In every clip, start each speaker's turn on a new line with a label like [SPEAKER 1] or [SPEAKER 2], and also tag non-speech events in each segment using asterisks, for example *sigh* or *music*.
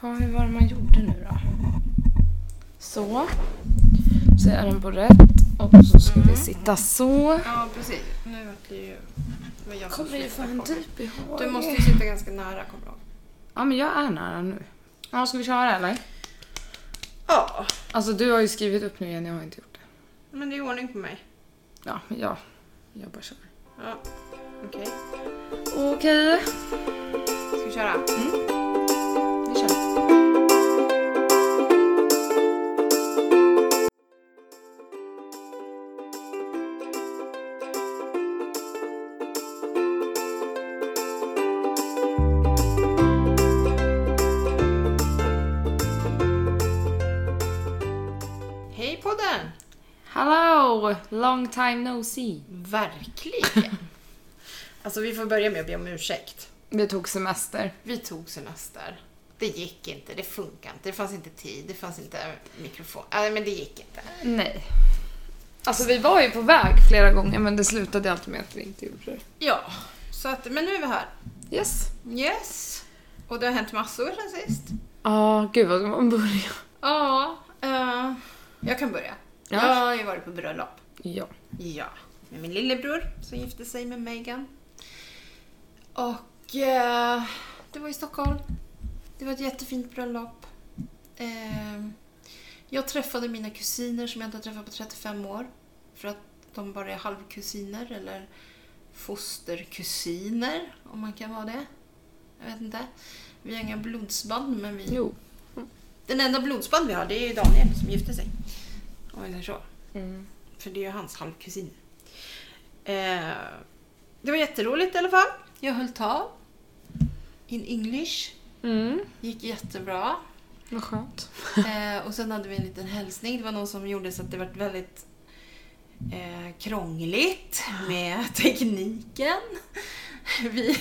[SPEAKER 1] Ja, hur var det man gjorde nu då? Så. Så är den på rätt och så ska vi sitta så.
[SPEAKER 2] Ja, precis. Nu vart det ju... Det var jag som
[SPEAKER 1] Kommer ju fan
[SPEAKER 2] slutade komma.
[SPEAKER 1] typ ihåg.
[SPEAKER 2] Du måste ju sitta ganska nära, kommer jag ihåg.
[SPEAKER 1] Ja, men jag är nära nu. Ja, ska vi köra eller?
[SPEAKER 2] Ja,
[SPEAKER 1] Alltså du har ju skrivit upp nu igen, jag har inte gjort det.
[SPEAKER 2] men det är ordning på mig.
[SPEAKER 1] Ja, men jag, jag bara kör.
[SPEAKER 2] Ja. Okej,
[SPEAKER 1] Okej,
[SPEAKER 2] ska vi köra?
[SPEAKER 1] vi kör.
[SPEAKER 2] Hej podden!
[SPEAKER 1] Hello! Long time no see.
[SPEAKER 2] Verkligen! *laughs* alltså vi får börja med att be om ursäkt.
[SPEAKER 1] Vi tog semester.
[SPEAKER 2] Vi tog semester. Det gick inte, det funkade inte, det fanns inte tid, det fanns inte mikrofon. Nej, men det gick inte.
[SPEAKER 1] Nej. Alltså vi var ju på väg flera gånger men det slutade alltid med att vi inte gjorde det.
[SPEAKER 2] Ja, så att, men nu är vi här.
[SPEAKER 1] Yes.
[SPEAKER 2] Yes! Och det har hänt massor sen sist.
[SPEAKER 1] Ja, gud vad ska man börja?
[SPEAKER 2] Ja, eh, jag kan börja.
[SPEAKER 1] Ja.
[SPEAKER 2] Jag har ju varit på bröllop.
[SPEAKER 1] Ja.
[SPEAKER 2] Ja, med min lillebror som gifte sig med Megan. Och eh, det var i Stockholm. Det var ett jättefint bröllop. Eh, jag träffade mina kusiner som jag inte har träffat på 35 år. För att de bara är halvkusiner eller fosterkusiner, om man kan vara det. Jag vet inte. Vi har inga blodsband, men vi...
[SPEAKER 1] Jo.
[SPEAKER 2] Den enda blodsband vi har, det är ju Daniel som gifte sig. Om vi säger så.
[SPEAKER 1] Mm.
[SPEAKER 2] För det är ju hans halvkusin. Eh, det var jätteroligt i alla fall. Jag höll tal. In English.
[SPEAKER 1] Mm.
[SPEAKER 2] Gick jättebra.
[SPEAKER 1] Vad skönt.
[SPEAKER 2] Eh, och sen hade vi en liten hälsning. Det var någon som gjorde så att det var väldigt eh, krångligt med tekniken. Vi,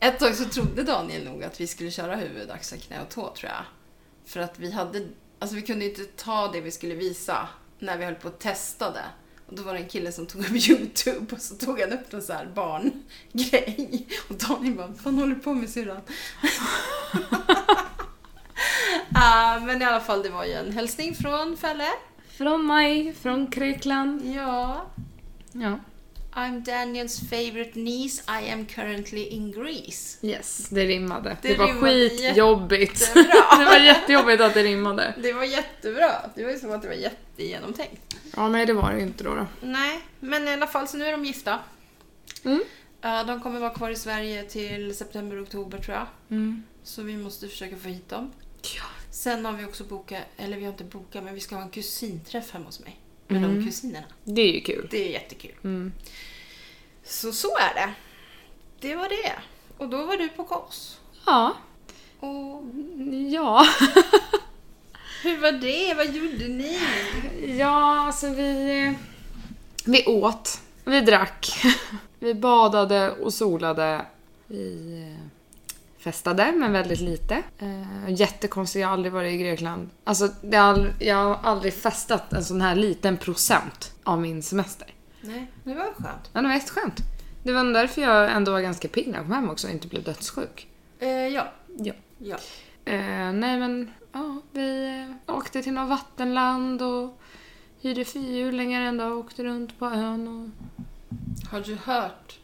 [SPEAKER 2] ett tag så trodde Daniel nog att vi skulle köra huvud, axel, knä och tå tror jag. För att vi hade, alltså vi kunde inte ta det vi skulle visa när vi höll på och testade. Och då var det en kille som tog upp *laughs* YouTube och så tog han upp någon så här barngrej. Och Daniel bara, vad fan håller du på med syrran? Ah, men i alla fall, det var ju en hälsning från Felle.
[SPEAKER 1] Från mig, från Grekland.
[SPEAKER 2] Ja.
[SPEAKER 1] Ja.
[SPEAKER 2] I'm Daniels favorite niece. I am currently in Greece.
[SPEAKER 1] Yes, det rimmade. Det,
[SPEAKER 2] Det
[SPEAKER 1] var
[SPEAKER 2] rimmade
[SPEAKER 1] skitjobbigt.
[SPEAKER 2] jättebra. *laughs*
[SPEAKER 1] det var jättejobbigt att det rimmade.
[SPEAKER 2] Det var jättebra. Det var ju som att det var jättegenomtänkt.
[SPEAKER 1] Ja, nej det var det ju inte då. då.
[SPEAKER 2] Nej, men i alla fall så nu är de gifta.
[SPEAKER 1] Mm.
[SPEAKER 2] Eh, De kommer vara kvar i Sverige till september, oktober tror jag.
[SPEAKER 1] Mm.
[SPEAKER 2] Så vi måste försöka få hit dem. Sen har vi också bokat, eller vi har inte bokat, men vi ska ha en kusinträff hemma hos mig. Med de kusinerna.
[SPEAKER 1] Det är ju kul.
[SPEAKER 2] Det är jättekul.
[SPEAKER 1] Mm.
[SPEAKER 2] Så så är det. Det var det. Och då var du på KOS.
[SPEAKER 1] Ja.
[SPEAKER 2] Och
[SPEAKER 1] Ja.
[SPEAKER 2] hur var det? Vad gjorde ni?
[SPEAKER 1] Ja, alltså vi... Vi åt, vi drack, *laughs* vi badade och solade. Vi eh, festade, men väldigt lite. Eh, Jättekonstigt, jag har aldrig varit i Grekland. Alltså, det har ald- jag har aldrig festat en sån här liten procent av min semester.
[SPEAKER 2] Nej, det var skönt.
[SPEAKER 1] Men det var helt skönt. Det var nog därför jag ändå var ganska pigg när jag kom hem också och inte blev dödssjuk.
[SPEAKER 2] Eh, ja.
[SPEAKER 1] Ja.
[SPEAKER 2] ja.
[SPEAKER 1] Eh, nej men, ja, vi eh, åkte till något vattenland och hyrde fyrhjulingar en dag och åkte runt på ön och...
[SPEAKER 2] Har du hört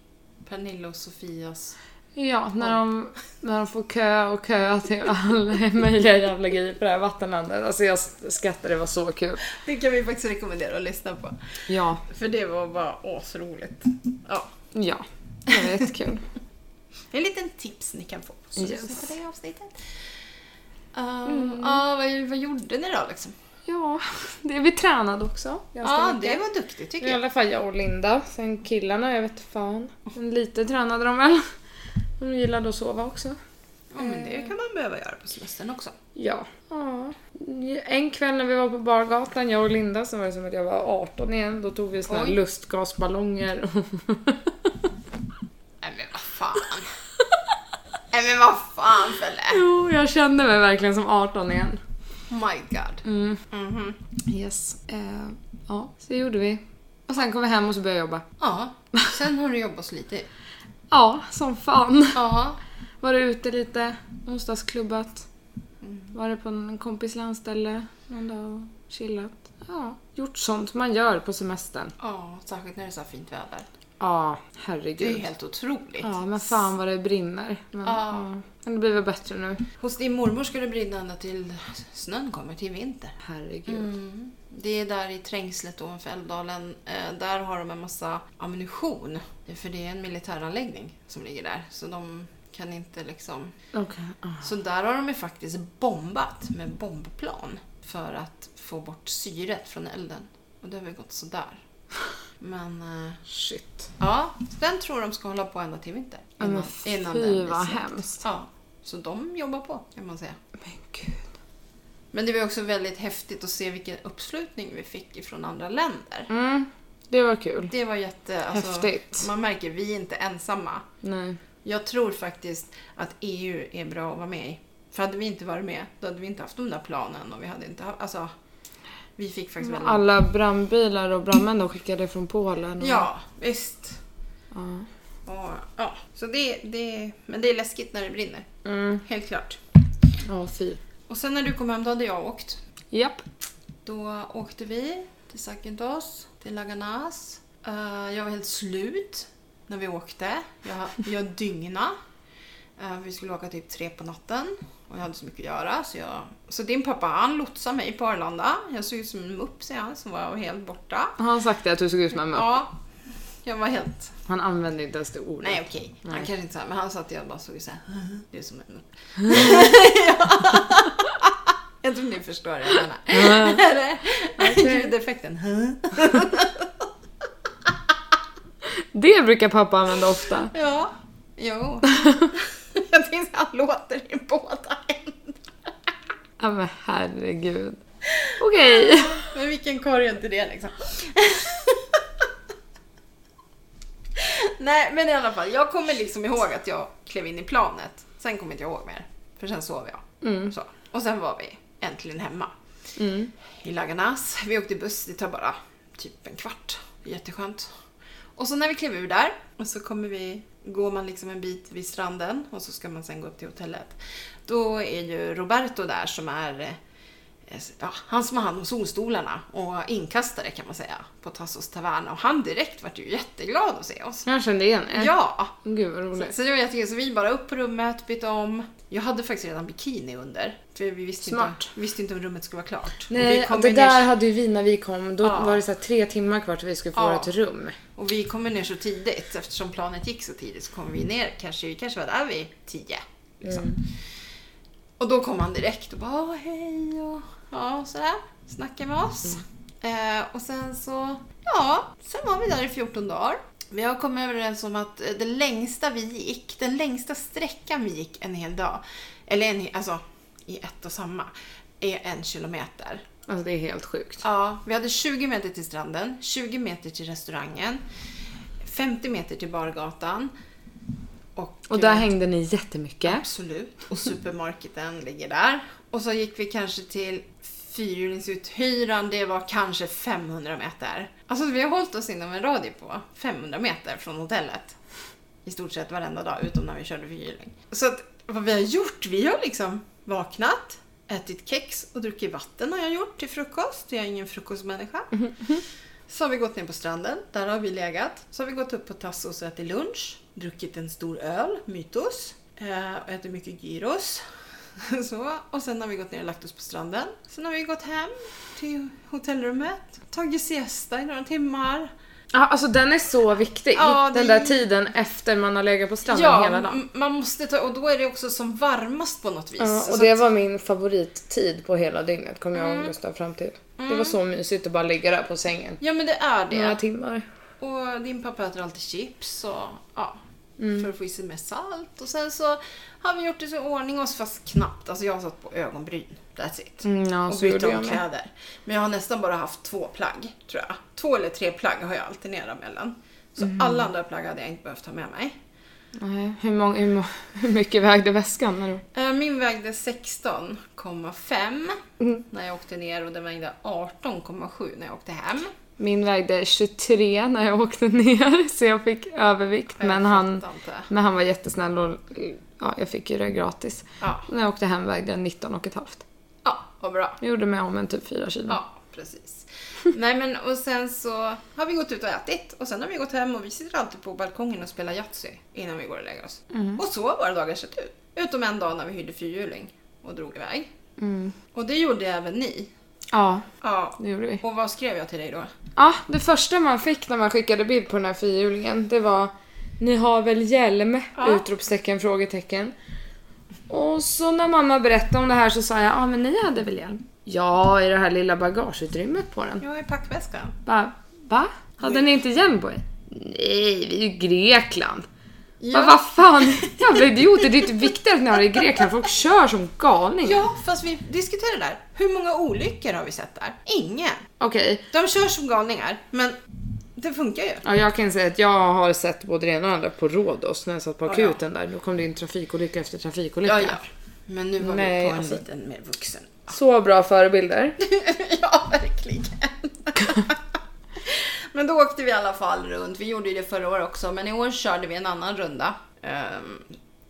[SPEAKER 2] Pernilla och Sofias?
[SPEAKER 1] Ja, när de, när de får kö och köa till alla *laughs* möjliga jävla grejer på det här vattenlandet. Alltså jag skrattade, det var så kul.
[SPEAKER 2] Det kan vi faktiskt rekommendera att lyssna på.
[SPEAKER 1] Ja,
[SPEAKER 2] För det var bara asroligt. Ja.
[SPEAKER 1] ja. Det var jättekul. *laughs*
[SPEAKER 2] En liten tips ni kan få. Så
[SPEAKER 1] Yes.
[SPEAKER 2] lyssna på det avsnittet. Um, Ja, ah, vad, vad gjorde ni då liksom?
[SPEAKER 1] Ja, det, vi tränade också.
[SPEAKER 2] Ja,
[SPEAKER 1] ganska
[SPEAKER 2] ah,
[SPEAKER 1] mycket.
[SPEAKER 2] det var duktigt tycker
[SPEAKER 1] I
[SPEAKER 2] jag.
[SPEAKER 1] alla fall jag och Linda. Sen killarna, jag vet fan. Men lite tränade de väl. De gillade att sova också.
[SPEAKER 2] Ja, men det kan man behöva göra på semestern också.
[SPEAKER 1] Ja. En kväll när vi var på bargatan, jag och Linda, så var det som att jag var 18 igen. Då tog vi såna här *laughs*
[SPEAKER 2] Oj.
[SPEAKER 1] lustgasballonger.
[SPEAKER 2] Nej men vad fan. Nej men vad fan Felle.
[SPEAKER 1] Jo, jag kände mig verkligen som 18 igen.
[SPEAKER 2] Oh my god.
[SPEAKER 1] Mm.
[SPEAKER 2] Mhm.
[SPEAKER 1] Yes. Eh, ja, så det gjorde vi. Och sen kom vi hem och så började jag jobba.
[SPEAKER 2] Ja, sen har du jobbat och slitit.
[SPEAKER 1] Ja, som fan.
[SPEAKER 2] Ja.
[SPEAKER 1] Var ute lite, onsdagsklubbat. Var det på en kompis landställe någon dag och chillat. Ja, gjort sånt man gör på semestern.
[SPEAKER 2] Ja, särskilt när det är så här fint väder.
[SPEAKER 1] Ja,
[SPEAKER 2] Det är ju
[SPEAKER 1] herregud.
[SPEAKER 2] helt otroligt.
[SPEAKER 1] Ja, men fan vad det brinner. Men,
[SPEAKER 2] Ja.
[SPEAKER 1] ja. men det blir väl bättre nu.
[SPEAKER 2] Hos din mormor ska det brinna ända till snön kommer, till vinter.
[SPEAKER 1] Herregud.
[SPEAKER 2] Mm. Det är där i trängslet ovanför Älvdalen. Eh, där har de en massa ammunition. För det är en militäranläggning som ligger där. Så de kan inte liksom...
[SPEAKER 1] Okej. ja.
[SPEAKER 2] Så där har de ju faktiskt bombat med bombplan. För att få bort syret från elden. Och det har väl gått sådär. Men eh,
[SPEAKER 1] Shit.
[SPEAKER 2] ja, den tror de ska hålla på ända till vinter.
[SPEAKER 1] Ja, men fy
[SPEAKER 2] blir
[SPEAKER 1] vad
[SPEAKER 2] slut.
[SPEAKER 1] hemskt.
[SPEAKER 2] Ja, så de jobbar på kan man säga.
[SPEAKER 1] Men gud.
[SPEAKER 2] Men det var ju också väldigt häftigt att se vilken uppslutning vi fick ifrån andra länder.
[SPEAKER 1] Mm, det var kul.
[SPEAKER 2] Det var jätte... Alltså,
[SPEAKER 1] Häftigt.
[SPEAKER 2] Man märker, vi är inte ensamma.
[SPEAKER 1] Nej.
[SPEAKER 2] Jag tror faktiskt att EU är bra att vara med i. För hade vi inte varit med, då hade vi inte haft de där planen och vi hade inte haft... Alltså, vi fick faktiskt väldigt...
[SPEAKER 1] Alla brandbilar och brandmän de skickade från Polen. Och,
[SPEAKER 2] Ja, visst.
[SPEAKER 1] Ja.
[SPEAKER 2] Och, ja. Så det, det... Men det är läskigt när det brinner.
[SPEAKER 1] Mm.
[SPEAKER 2] Helt klart.
[SPEAKER 1] Ja, fy.
[SPEAKER 2] Och sen när du kom hem, då hade jag åkt.
[SPEAKER 1] Japp.
[SPEAKER 2] Då åkte vi till Sakintos, till Laganas. Eh, jag var helt slut när vi åkte. Jag, jag dygna. Eh, vi skulle åka typ tre på natten och jag hade så mycket att göra. Så, jag... så din pappa han lotsade mig på Arlanda. Jag såg ut som en mupp säger han, som var helt borta.
[SPEAKER 1] Har han sagt det att du såg ut som en mupp?
[SPEAKER 2] Ja, jag var helt...
[SPEAKER 1] Han använde inte ens det ordet.
[SPEAKER 2] Nej okej, han
[SPEAKER 1] Nej.
[SPEAKER 2] kanske inte sa men han sa att jag bara såg ut såhär. *laughs* Det är som en
[SPEAKER 1] *laughs*
[SPEAKER 2] mupp. jag tror ni förstår vad jag menar. *laughs*
[SPEAKER 1] Ja. Okej.
[SPEAKER 2] Ljudeffekten.
[SPEAKER 1] Det brukar pappa använda ofta.
[SPEAKER 2] *laughs*
[SPEAKER 1] *laughs*
[SPEAKER 2] Ja, jo. *laughs* jag tänkte att han låter i båda händerna.
[SPEAKER 1] Ja men herregud. Okej.
[SPEAKER 2] Men vilken korg är inte det liksom? *laughs* Nej, men i alla fall. Jag kommer liksom ihåg att jag klev in i planet. Sen kommer inte jag ihåg mer. För sen sov jag. Så. Och sen var vi äntligen hemma.
[SPEAKER 1] Mm.
[SPEAKER 2] i Laganas. Vi åkte buss, det tar bara typ en kvart. Jätteskönt. Och så när vi klev ur där, och så kommer vi, går man liksom en bit vid stranden och så ska man sen gå upp till hotellet. Då är ju Roberto där som är eh, Ja, han som har hand om solstolarna och inkastare kan man säga på Tassos taverna och han direkt vart ju jätteglad att se oss.
[SPEAKER 1] Jag kände igen er.
[SPEAKER 2] Ja!
[SPEAKER 1] Gud vad roligt.
[SPEAKER 2] Så det var jättekul, så vi bara upp på rummet, bytte om. Jag hade faktiskt redan bikini under. För vi visste,
[SPEAKER 1] Smart.
[SPEAKER 2] inte, visste inte om rummet skulle vara klart. Och vi
[SPEAKER 1] Nej,
[SPEAKER 2] kom
[SPEAKER 1] det
[SPEAKER 2] ju ner-
[SPEAKER 1] där hade ju vi när vi kom. Då
[SPEAKER 2] Ja.
[SPEAKER 1] var det så här tre timmar kvar till vi skulle få
[SPEAKER 2] Ja.
[SPEAKER 1] vårt rum.
[SPEAKER 2] Och vi kommer ner så tidigt, eftersom planet gick så tidigt så kommer vi ner, kanske, vi kanske var där vid tio. Liksom. Och då kom han direkt och bara "Åh, hej och ja, sådär. Snackade med oss. Eh, och sen så, ja, sen var vi där i 14 dagar. Vi har kommit överens om att eh, det längsta vi gick, den längsta sträckan vi gick en hel dag, eller en, he- alltså i ett och samma, är en kilometer.
[SPEAKER 1] Alltså det är helt sjukt.
[SPEAKER 2] Ja, vi hade 20 meter till stranden, 20 meter till restaurangen, 50 meter till bargatan. Och,
[SPEAKER 1] Och där hängde ni jättemycket.
[SPEAKER 2] Absolut. Och supermarketen *laughs* ligger där. Och så gick vi kanske till fyrhjulingsuthyraren, det var kanske 500 meter. Alltså vi har hållit oss inom en radie på 500 meter från hotellet. I stort sett varenda dag, utom när vi körde fyrhjuling. Så att, vad vi har gjort, vi har liksom vaknat, ätit kex och druckit vatten har jag gjort till frukost. Jag är ingen frukostmänniska. Så har vi gått ner på stranden, där har vi legat. Så har vi gått upp på Tassos och ätit lunch, druckit en stor öl, Mytos, eh, och ätit mycket gyros. *laughs* Så, och sen har vi gått ner och lagt oss på stranden. Sen har vi gått hem till hotellrummet, tagit siesta i några timmar.
[SPEAKER 1] Ja, alltså den är så viktig.
[SPEAKER 2] Ja,
[SPEAKER 1] den
[SPEAKER 2] det-
[SPEAKER 1] där tiden efter man har legat på stranden hela dagen.
[SPEAKER 2] m- man måste ta, och då är det också som varmast på något vis.
[SPEAKER 1] Ja, och
[SPEAKER 2] Så
[SPEAKER 1] det
[SPEAKER 2] att-
[SPEAKER 1] var min favorittid på hela dygnet kom jag och Gustav fram till. Det var så mysigt att bara ligga där på sängen.
[SPEAKER 2] ja men det är det.
[SPEAKER 1] Några timmar.
[SPEAKER 2] Och din pappa äter alltid chips och ja,
[SPEAKER 1] Mm.
[SPEAKER 2] för att få i sig mer salt. Och sen så har vi gjort det så i ordning oss fast knappt. Alltså jag har satt på ögonbryn, that's it.
[SPEAKER 1] Mm, ja,
[SPEAKER 2] och
[SPEAKER 1] så
[SPEAKER 2] bytt
[SPEAKER 1] gjorde
[SPEAKER 2] om
[SPEAKER 1] jag med.
[SPEAKER 2] kläder. Men jag har nästan bara haft två plagg, tror jag. Två eller tre plagg har jag alternerat mellan. Så
[SPEAKER 1] Mm.
[SPEAKER 2] alla andra plagg hade jag inte behövt ta med mig.
[SPEAKER 1] Nej, hur, många, hur, må- hur mycket vägde väskan? När du...
[SPEAKER 2] Eh, Min vägde 16,5
[SPEAKER 1] Mm.
[SPEAKER 2] när jag åkte ner och den vägde 18,7 när jag åkte hem.
[SPEAKER 1] Min vägde 23 när jag åkte ner *laughs* så jag fick övervikt.
[SPEAKER 2] Jag
[SPEAKER 1] Men han,
[SPEAKER 2] fattar inte.
[SPEAKER 1] men han var jättesnäll och Ja, jag fick ju det gratis.
[SPEAKER 2] Ja,
[SPEAKER 1] När jag åkte hem vägde jag 19 och ett halvt.
[SPEAKER 2] ja vad bra.
[SPEAKER 1] Jag gjorde mig om en typ 4 kilo.
[SPEAKER 2] Ja, *laughs* precis. Nej men och sen så har vi gått ut och ätit och sen har vi gått hem och vi sitter alltid på balkongen och spelar Yatzy innan vi går och lägger oss. Och så har våra dagar sett ut. Utom en dag när vi hyrde fyrhjuling och drog iväg.
[SPEAKER 1] Mm.
[SPEAKER 2] Och det gjorde även ni.
[SPEAKER 1] ja,
[SPEAKER 2] Ja.
[SPEAKER 1] det gjorde vi.
[SPEAKER 2] Och vad skrev jag till dig då?
[SPEAKER 1] Ja, det första man fick när man skickade bild på den här fyrhjulingen, det var Ni har väl hjälm?
[SPEAKER 2] Ja.
[SPEAKER 1] Utropstecken, frågetecken. Och så när mamma berättade om det här så sa jag, ja men ni hade väl hjälm? Ja, i det här lilla bagageutrymmet på den.
[SPEAKER 2] Jag i packväskan.
[SPEAKER 1] Bara, va? Hade ni inte hjälm på er? Nej, vi är ju i Grekland.
[SPEAKER 2] Ja.
[SPEAKER 1] Ja. Vad fan, *laughs* jävla idioter. Det är inte viktigt att ni har det i Grekland, folk kör som galningar.
[SPEAKER 2] Ja, fast vi diskuterade där. Hur många olyckor har vi sett där? Ingen.
[SPEAKER 1] Okej,
[SPEAKER 2] De kör som galningar, men det funkar ju.
[SPEAKER 1] Ja, jag kan säga att jag har sett både det ena och det andra på Rhodos när jag satt på
[SPEAKER 2] ja.
[SPEAKER 1] akuten där. Då kom det in trafikolycka efter trafikolycka.
[SPEAKER 2] Ja, ja. Men nu var
[SPEAKER 1] Nej,
[SPEAKER 2] vi på en
[SPEAKER 1] alltså.
[SPEAKER 2] liten mer vuxen.
[SPEAKER 1] Så bra förebilder.
[SPEAKER 2] *laughs* ja, verkligen. men då åkte vi i alla fall runt. Vi gjorde ju det förra året också, men i år körde vi en annan runda. Ehm,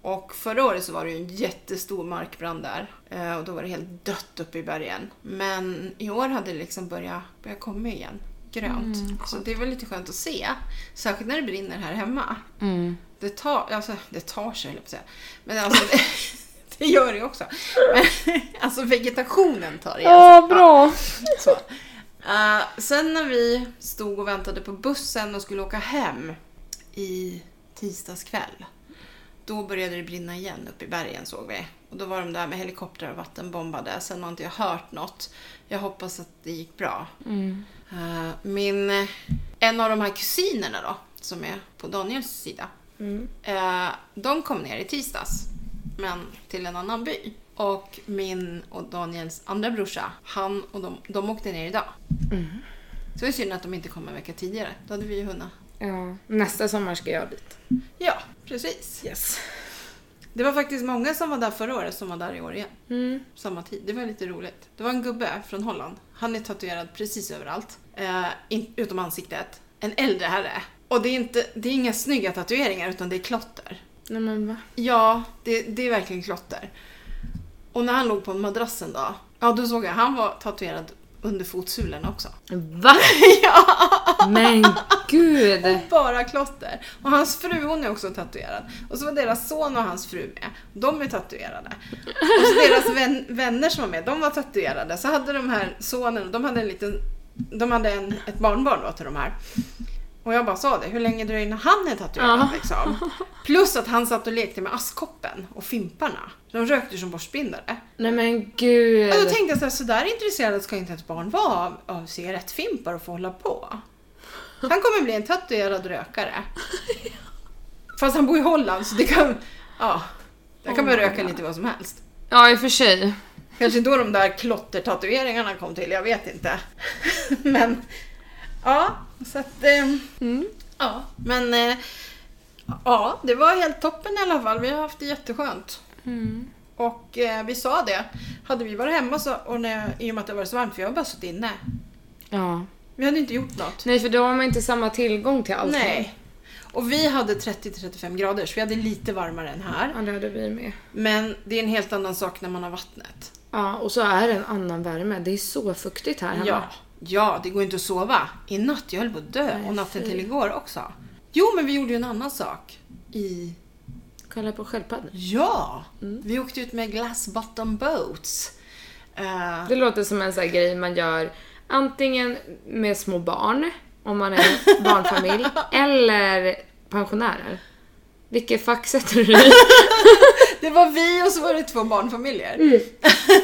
[SPEAKER 2] och förra året så var det ju en jättestor markbrand där Ehm, och då var det helt dött uppe i bergen. Men i år hade det liksom börjat, börjat komma igen, grönt. så det var lite skönt att se. Särskilt när det brinner här hemma.
[SPEAKER 1] Mm.
[SPEAKER 2] Det tar, alltså, det tar sig, höll jag på att säga. Men alltså, *laughs* det, det gör det ju också. Men, alltså vegetationen tar alltså. igen sig.
[SPEAKER 1] Ja, bra.
[SPEAKER 2] Så. Eh, sen när vi stod och väntade på bussen och skulle åka hem i tisdags kväll. Då började det brinna igen uppe i bergen såg vi. Och då var de där med helikoptrar och vattenbombade. Sen har inte jag hört något. Jag hoppas att det gick bra.
[SPEAKER 1] Mm.
[SPEAKER 2] Eh, min, eh, en av de här kusinerna då, som är på Daniels sida.
[SPEAKER 1] Mm.
[SPEAKER 2] Eh, de kom ner i tisdags, men till en annan by. Och min och Daniels andra brorsa, han och de, de åkte ner idag. Mm. Så det är synd att de inte kom en vecka tidigare. Då hade vi ju hunnit.
[SPEAKER 1] Ja, nästa sommar ska jag dit.
[SPEAKER 2] Ja, precis.
[SPEAKER 1] Yes.
[SPEAKER 2] Det var faktiskt många som var där förra året som var där i år igen.
[SPEAKER 1] Mm.
[SPEAKER 2] Samma tid. Det var lite roligt. Det var en gubbe från Holland. Han är tatuerad precis överallt. Eh, in, utom ansiktet. En äldre herre. Och det är, inte, det är inga snygga tatueringar utan det är klotter.
[SPEAKER 1] Nej men va?
[SPEAKER 2] Ja, det, det är verkligen klotter. Och när han låg på madrassen då, ja då såg jag han var tatuerad under fotsulorna också.
[SPEAKER 1] Va? *laughs* ja. Men gud.
[SPEAKER 2] Bara klotter. Och hans fru hon är också tatuerad. Och så var deras son och hans fru med. De är tatuerade. Och så deras vän, vänner som var med, de var tatuerade. Så hade de här sonen, de hade en liten, de hade en, ett barnbarn då till de här. Och jag bara sa det, hur länge dröjer det innan han är tatuerad
[SPEAKER 1] Ja.
[SPEAKER 2] liksom? Plus att han satt och lekte med askkoppen och fimparna. De rökte ju som borstbindare.
[SPEAKER 1] Nej men
[SPEAKER 2] Ja, då
[SPEAKER 1] gud.
[SPEAKER 2] tänkte jag så här, så där intresserad ska inte ett barn vara av, av cigarettfimpar och få hålla på. Han kommer bli en tatuerad rökare.
[SPEAKER 1] *laughs*
[SPEAKER 2] Fast han bor i Holland så det kan, ja, där
[SPEAKER 1] Oh
[SPEAKER 2] kan man
[SPEAKER 1] my
[SPEAKER 2] röka
[SPEAKER 1] God.
[SPEAKER 2] lite vad som helst.
[SPEAKER 1] Ja, i och för sig.
[SPEAKER 2] Kanske då de där klottertatueringarna kom till, jag vet inte. *laughs* Men, ja, så att, eh,
[SPEAKER 1] Mm.
[SPEAKER 2] ja, men, eh, ja, det var helt toppen i alla fall. Vi har haft det jätteskönt.
[SPEAKER 1] Mm.
[SPEAKER 2] Och eh, vi sa det, hade vi varit hemma så, och när jag, i och med att det var så varmt, för jag har bara suttit inne.
[SPEAKER 1] Ja.
[SPEAKER 2] Vi hade inte gjort något.
[SPEAKER 1] Nej, för då har man inte samma tillgång till allting.
[SPEAKER 2] Nej. Och vi hade 30-35 grader, så vi hade lite varmare än här.
[SPEAKER 1] Ja, det hade vi med.
[SPEAKER 2] Men det är en helt annan sak när man har vattnet.
[SPEAKER 1] Ja, och så är det en annan värme. Det är så fuktigt här hemma.
[SPEAKER 2] Ja. ja, det går inte att sova. I natt, jag höll på att dö.
[SPEAKER 1] Nej,
[SPEAKER 2] Och natten
[SPEAKER 1] fy.
[SPEAKER 2] till igår också. Jo, men vi gjorde ju en annan sak. I...
[SPEAKER 1] Kolla på sköldpaddor.
[SPEAKER 2] Ja!
[SPEAKER 1] Mm.
[SPEAKER 2] Vi åkte ut med glass bottom boats. Eh,
[SPEAKER 1] Det låter som en sån här grej man gör antingen med små barn, om man *laughs* är barnfamilj, eller pensionärer. Vilket fack sätter du dig i?
[SPEAKER 2] Det var vi och så var det två barnfamiljer. *laughs*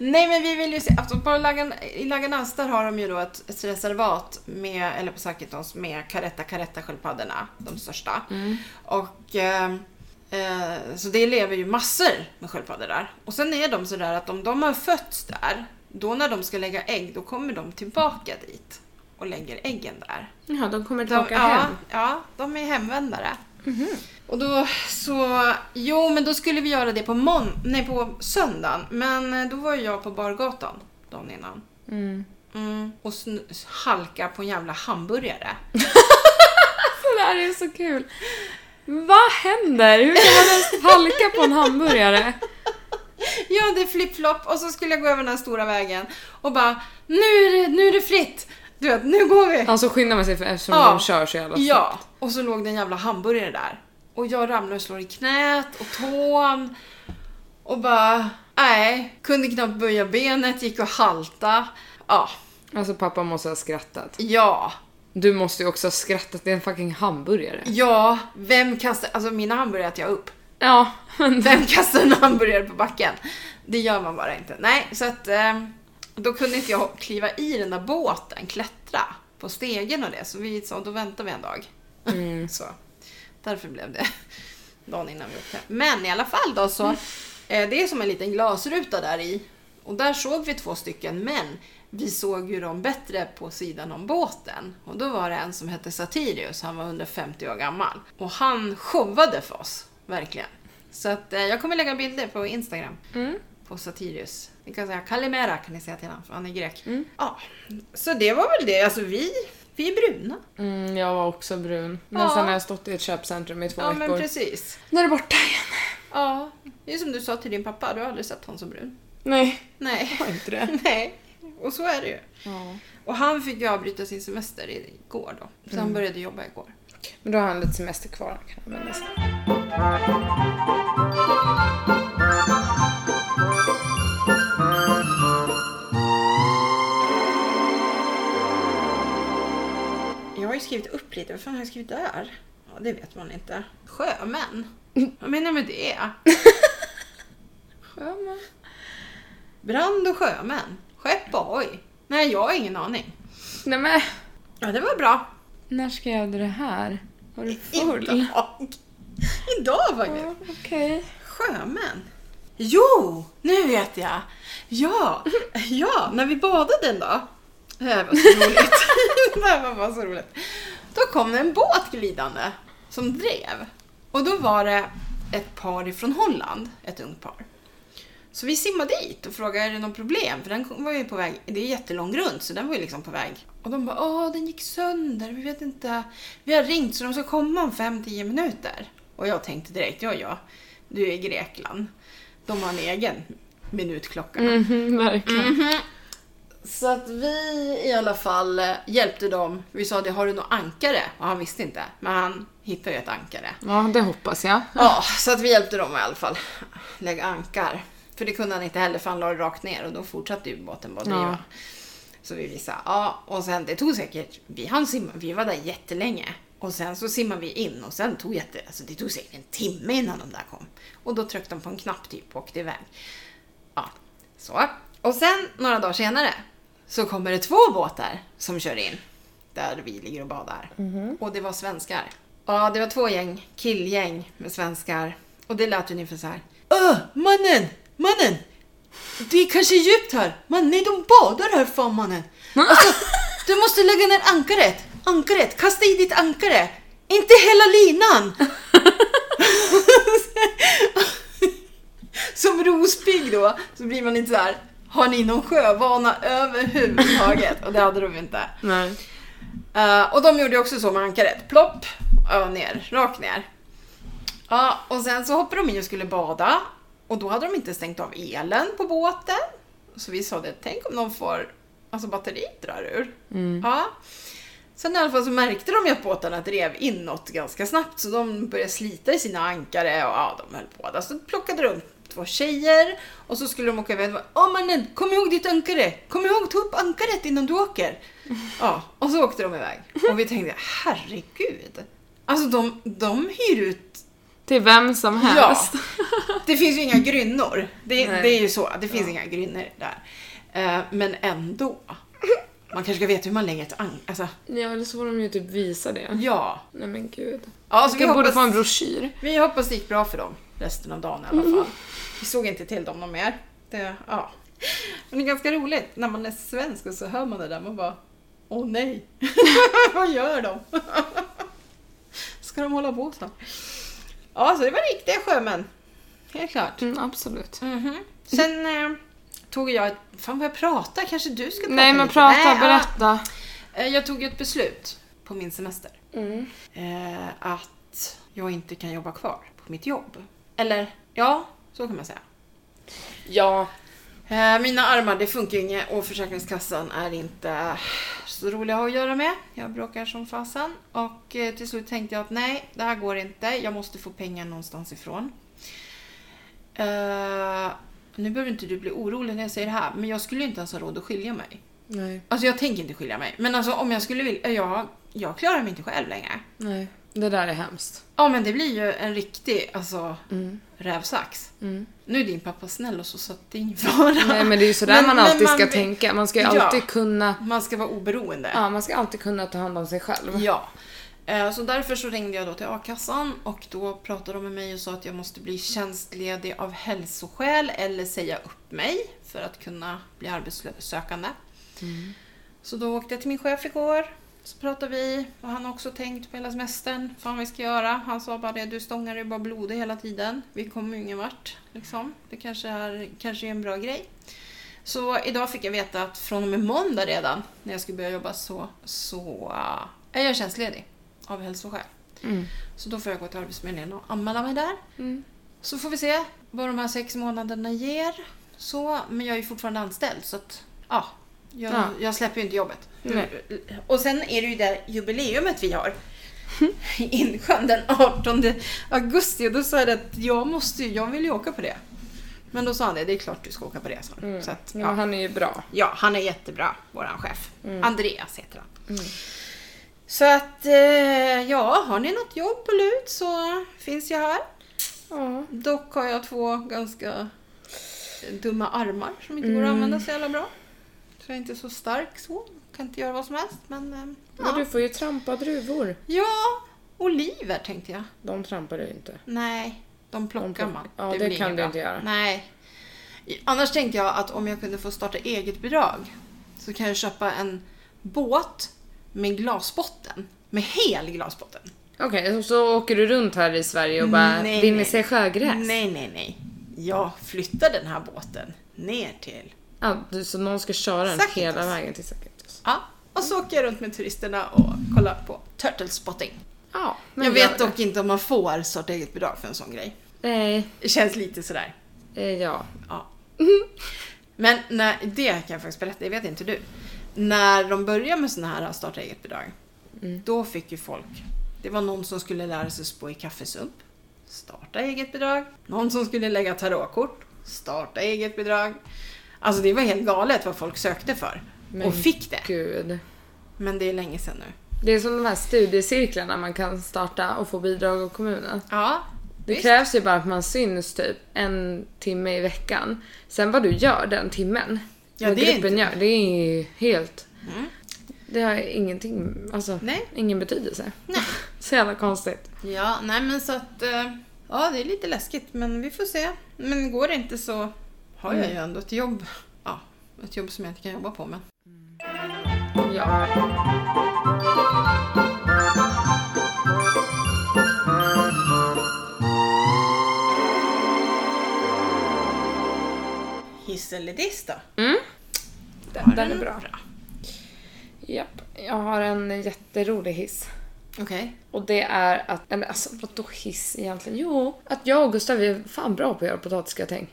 [SPEAKER 2] Nej men vi vill ju se, alltså på Lagan, i Laganäs där har de ju då ett, ett reservat med, eller på Sakitons med karetta karetta sköldpaddorna, de största. Och eh, eh, så det lever ju massor med sköldpaddor där. Och sen är de sådär att om de har fötts där, då när de ska lägga ägg, då kommer de tillbaka dit och lägger äggen där.
[SPEAKER 1] Ja, de kommer
[SPEAKER 2] De,
[SPEAKER 1] tillbaka
[SPEAKER 2] ja,
[SPEAKER 1] hem.
[SPEAKER 2] ja, de är hemvändare. Och då så, jo men då skulle vi göra det på, mån, nej, på söndagen, men eh, då var ju jag på bargatan dagen innan.
[SPEAKER 1] Mm.
[SPEAKER 2] Mm. Och sn- halka på en jävla hamburgare.
[SPEAKER 1] Det här är så kul. Vad händer? Hur kan man ens halka på en hamburgare?
[SPEAKER 2] Ja, det är flip-flop och så skulle jag gå över den här stora vägen och bara nu är det, nu är det fritt! Du vet, nu går vi!
[SPEAKER 1] Alltså skyndar man sig för eftersom
[SPEAKER 2] Ja.
[SPEAKER 1] de kör så jävla
[SPEAKER 2] Ja, och så låg det en jävla hamburgare där. Och jag ramlar och slår i knät och tån. Och bara, nej, kunde knappt böja benet, gick och halta. Ja,
[SPEAKER 1] Alltså pappa måste ha skrattat.
[SPEAKER 2] ja,
[SPEAKER 1] Du måste ju också ha skrattat, det är en fucking hamburgare.
[SPEAKER 2] ja. Vem kastar, alltså mina hamburgare äter jag upp.
[SPEAKER 1] Ja, men *laughs*
[SPEAKER 2] Vem kastar en hamburgare på backen? Det gör man bara inte. Nej, så att eh, då kunde inte jag kliva i den där båten, klättra på stegen och det. Så vi sa, då väntar vi en dag.
[SPEAKER 1] Mm.
[SPEAKER 2] Så. Därför blev det dagen innan vi åkte. Men i alla fall då så, eh, det är som en liten glasruta där i. Och där såg vi två stycken, men vi såg ju dem bättre på sidan om båten. Och då var det en som hette Satirius, han var 150 år gammal. Och han showade för oss, verkligen. Så att eh, jag kommer lägga bilder på Instagram
[SPEAKER 1] Mm.
[SPEAKER 2] på Satirius. Ni kan säga Kalimera kan ni säga till honom, för han är grek.
[SPEAKER 1] Mm.
[SPEAKER 2] Ja, så det var väl det. Alltså vi, vi är bruna.
[SPEAKER 1] mm, jag var också brun. Men
[SPEAKER 2] Ja.
[SPEAKER 1] sen har jag stått i ett köpcentrum i två
[SPEAKER 2] Ja, men
[SPEAKER 1] veckor.
[SPEAKER 2] precis.
[SPEAKER 1] Nu är det borta igen.
[SPEAKER 2] Ja, det är som du sa till din pappa, du har aldrig sett honom så brun.
[SPEAKER 1] Nej,
[SPEAKER 2] Nej. *laughs*
[SPEAKER 1] jag har inte det.
[SPEAKER 2] Nej, och så är det ju.
[SPEAKER 1] Ja.
[SPEAKER 2] Och han fick ju avbryta sin semester igår då. Så han började jobba igår.
[SPEAKER 1] Men då har han lite semester kvar han kan använda sig.
[SPEAKER 2] Jag har ju skrivit upp lite, vad fan har jag skrivit där? Ja, det vet man inte. Sjömän? Vad menar jag med det? *laughs*
[SPEAKER 1] Sjöman.
[SPEAKER 2] Brand och sjömän? Skepp och oj. Nej, jag har ingen aning.
[SPEAKER 1] Nej men,
[SPEAKER 2] Ja, det var bra.
[SPEAKER 1] när skrev du det här? Var du full?
[SPEAKER 2] Idag. Idag faktiskt.
[SPEAKER 1] Ja, Okej.
[SPEAKER 2] Sjömän? Jo, nu vet jag! Ja, *laughs* ja när vi badade en dag. Det här var så roligt. *laughs* det här var bara så roligt. Då kom det en båt glidande som drev. Och då var det ett par ifrån Holland, ett ungt par. Så vi simmade dit och frågade är det något problem? För den kom- var ju på väg, det är jättelång runt så den var ju liksom på väg. Och de bara åh den gick sönder, vi vet inte. Vi har ringt så de ska komma om 5-10 minuter. Och jag tänkte direkt, ja ja, du är i Grekland. De har en egen minutklocka.
[SPEAKER 1] Mhm, verkligen.
[SPEAKER 2] Så att vi i alla fall eh, hjälpte dem. Vi sa det, har du något ankare? Och han visste inte, men han hittade ju ett ankare.
[SPEAKER 1] Ja, det hoppas jag.
[SPEAKER 2] Ja, så att vi hjälpte dem i alla fall. Lägga ankar. För det kunde han inte heller för han la det rakt ner och då fortsatte ju båten bara driva.
[SPEAKER 1] Ja.
[SPEAKER 2] Så vi visade, ja och sen det tog säkert, vi hann simma, vi var där jättelänge. Och sen så simmade vi in och sen tog jätte, alltså det tog säkert en timme innan de där kom. Och då tryckte de på en knapp typ och åkte iväg. Ja, så. Och sen några dagar senare så kommer det två båtar som kör in där vi ligger och badar. Och det var svenskar. Ja, det var två gäng, killgäng med svenskar. Och det lät ungefär så här. Öh, mannen! Mannen! Det är kanske djupt här. Man, nej, de badar här fan mannen. Alltså, du måste lägga ner ankaret. Ankaret, kasta i ditt ankare. Inte hela linan. Som rospigg då, så blir man inte så här. Har ni någon sjövana överhuvudtaget? Och det hade de inte.
[SPEAKER 1] Nej.
[SPEAKER 2] Eh, och de gjorde ju också så med ankaret. Plopp! Ja, ner. Rakt ner. Ja, och sen så hoppade de in och skulle bada. Och då hade de inte stängt av elen på båten. Så vi sa det, tänk om de får... Alltså batteriet drar ur. Ja. Sen i alla fall så märkte de ju att båtarna drev inåt ganska snabbt så de började slita i sina ankare och ja, de höll på. där. Så plockade de upp två tjejer och så skulle de åka iväg. Åh mannen, kom ihåg ditt ankare! Kom ihåg, ta upp ankaret innan du åker! Ja, och så åkte de iväg. Och vi tänkte, herregud! Alltså de, de hyr ut...
[SPEAKER 1] Till vem som
[SPEAKER 2] Ja!
[SPEAKER 1] helst.
[SPEAKER 2] *laughs* Det finns ju inga grynnor. Det,
[SPEAKER 1] Nej.
[SPEAKER 2] det är ju så, det finns inga grynnor där. Eh, men ändå. Man kanske ska veta hur man lägger ett ankare. Alltså,
[SPEAKER 1] Ja. eller så får de ju typ visa det.
[SPEAKER 2] ja.
[SPEAKER 1] Nej men gud.
[SPEAKER 2] Ja, så
[SPEAKER 1] Vi borde få en broschyr.
[SPEAKER 2] Vi hoppas det gick bra för dem resten av dagen i alla
[SPEAKER 1] Mm.
[SPEAKER 2] fall. Vi såg inte till dem någon mer. Det, ja. Men det är ganska roligt när man är svensk och så hör man det där. Man bara, åh nej, *laughs* vad gör de? *laughs* Ska de hålla på så? Ja, så det var riktiga sjömän. Helt klart.
[SPEAKER 1] Mm, absolut.
[SPEAKER 2] Mhm. Sen eh, tog jag ett... Fan vad jag pratar, kanske du ska prata
[SPEAKER 1] Nej men
[SPEAKER 2] lite?
[SPEAKER 1] prata,
[SPEAKER 2] Nej,
[SPEAKER 1] berätta.
[SPEAKER 2] ja. Eh, Jag tog ju ett beslut på min semester.
[SPEAKER 1] Mm.
[SPEAKER 2] Eh, att att jag inte kan jobba kvar på mitt jobb. Eller, ja, så kan man säga.
[SPEAKER 1] Ja.
[SPEAKER 2] Eh, Mina armar, det funkar ju inget och Försäkringskassan är inte så roliga att ha att göra med. Jag bråkar som fasen och eh, till slut tänkte jag att nej, det här går inte. Jag måste få pengar någonstans ifrån. Eh, nu behöver inte du bli orolig när jag säger det här, men jag skulle ju inte ens ha råd att skilja mig.
[SPEAKER 1] Nej.
[SPEAKER 2] Alltså jag tänker inte skilja mig, men alltså om jag skulle vilja, jag, jag klarar mig inte själv längre.
[SPEAKER 1] Nej. Det där är hemskt.
[SPEAKER 2] Ja men det blir ju en riktig, alltså,
[SPEAKER 1] Mm.
[SPEAKER 2] rävsax.
[SPEAKER 1] Mm.
[SPEAKER 2] Nu är din pappa snäll och så, så att det är *laughs* ingen fara.
[SPEAKER 1] Nej men det är ju sådär man alltid ska
[SPEAKER 2] vill-
[SPEAKER 1] tänka. Man ska ju
[SPEAKER 2] Ja.
[SPEAKER 1] alltid kunna
[SPEAKER 2] Man ska vara oberoende.
[SPEAKER 1] Ja, man ska alltid kunna ta hand om sig själv.
[SPEAKER 2] Ja. Eh, Så därför så ringde jag då till a-kassan och då pratade de med mig och sa att jag måste bli tjänstledig av hälsoskäl eller säga upp mig för att kunna bli arbetssökande. Så då åkte jag till min chef igår. Så pratade vi och han har också tänkt på hela semestern, fan vad vi ska göra. Han sa bara det, du stångar dig bara blodig hela tiden. Vi kommer ju ingen vart. Liksom. Det kanske är, kanske är en bra grej. Så idag fick jag veta att från och med måndag redan, när jag skulle börja jobba, så, så eh, är jag tjänstledig av hälsoskäl.
[SPEAKER 1] Mm.
[SPEAKER 2] Så då får jag gå till Arbetsförmedlingen och anmäla mig där.
[SPEAKER 1] Mm.
[SPEAKER 2] Så får vi se vad de här sex månaderna ger. Så, men jag är ju fortfarande anställd så att, ja. Jag,
[SPEAKER 1] Ja.
[SPEAKER 2] jag släpper ju inte jobbet.
[SPEAKER 1] Nej.
[SPEAKER 2] Och sen är det ju det här jubileumet vi har. *laughs* I Insjön den 18 augusti. Och då sa jag att jag måste ju, jag vill ju åka på det. Men då sa han det, det är klart du ska åka på det. sa han. Så att,
[SPEAKER 1] Mm. Ja, han är ju bra.
[SPEAKER 2] Ja, han är jättebra, våran chef. Andreas heter han. Så att, eh, ja, har ni något jobb på lut så finns jag här.
[SPEAKER 1] Ja.
[SPEAKER 2] Dock har jag två ganska dumma armar som inte går att använda så jävla bra. Så jag är inte så stark så. Kan inte göra vad som helst, men... eh,
[SPEAKER 1] Men
[SPEAKER 2] Ja,
[SPEAKER 1] du får ju trampa druvor.
[SPEAKER 2] ja oliver tänkte jag.
[SPEAKER 1] De trampar du ju inte.
[SPEAKER 2] Nej, de plockar
[SPEAKER 1] De plock-
[SPEAKER 2] man.
[SPEAKER 1] ja, det
[SPEAKER 2] blir
[SPEAKER 1] kan
[SPEAKER 2] inget
[SPEAKER 1] du
[SPEAKER 2] bra.
[SPEAKER 1] inte göra.
[SPEAKER 2] Nej. Annars tänkte jag att om jag kunde få starta eget bidrag så kan jag köpa en båt med glasbotten. Med hel glasbotten.
[SPEAKER 1] Okej, så åker du runt här i Sverige och bara
[SPEAKER 2] Nej,
[SPEAKER 1] vinner
[SPEAKER 2] nej.
[SPEAKER 1] sig sjögräs?
[SPEAKER 2] Nej, nej, nej. Jag flyttar den här båten ner till...
[SPEAKER 1] Ja, du, så någon ska köra den
[SPEAKER 2] Sakitos.
[SPEAKER 1] hela vägen till Sakitos?
[SPEAKER 2] Ja, och så åker jag runt med turisterna och kollar på turtle spotting.
[SPEAKER 1] Ja,
[SPEAKER 2] jag
[SPEAKER 1] gör
[SPEAKER 2] vet
[SPEAKER 1] det.
[SPEAKER 2] dock inte om man får starta eget bidrag för en sån grej.
[SPEAKER 1] Nej,
[SPEAKER 2] Det känns lite sådär.
[SPEAKER 1] eh, ja.
[SPEAKER 2] Ja. Men när, det kan jag faktiskt berätta, det vet inte du. När de började med sådana här starta eget bidrag,
[SPEAKER 1] Mm.
[SPEAKER 2] då fick ju folk, det var någon som skulle lära sig spå i kaffesump, starta eget bidrag. Någon som skulle lägga tarotkort, starta eget bidrag. Alltså det var helt galet vad folk sökte för
[SPEAKER 1] Men
[SPEAKER 2] och fick det.
[SPEAKER 1] Gud.
[SPEAKER 2] Men det är länge sedan nu.
[SPEAKER 1] Det är som de här studiecirklarna man kan starta och få bidrag av kommunen.
[SPEAKER 2] Ja,
[SPEAKER 1] Det
[SPEAKER 2] visst.
[SPEAKER 1] krävs ju bara att man syns typ en timme i veckan. Sen vad du gör den timmen,
[SPEAKER 2] Ja,
[SPEAKER 1] vad
[SPEAKER 2] det är
[SPEAKER 1] gruppen
[SPEAKER 2] inte-
[SPEAKER 1] gör, det är ju helt...
[SPEAKER 2] Mm.
[SPEAKER 1] Det har ingenting, alltså
[SPEAKER 2] Nej.
[SPEAKER 1] ingen betydelse.
[SPEAKER 2] Nej.
[SPEAKER 1] *laughs* Så jävla konstigt.
[SPEAKER 2] Ja, nej men så att... eh, Ja, det är lite läskigt men vi får se. Men går det inte så har jag ju ändå ett jobb. Ja, ett jobb som jag inte kan jobba på men.
[SPEAKER 1] Ja.
[SPEAKER 2] Hiss eller diss då?
[SPEAKER 1] Den, den är bra. Japp. Jag har en jätterolig hiss.
[SPEAKER 2] Okej. *laughs*
[SPEAKER 1] Och det är att, eller alltså vadå hiss egentligen? Jo, att jag och Gustav är fan bra på att göra potatisgratäng.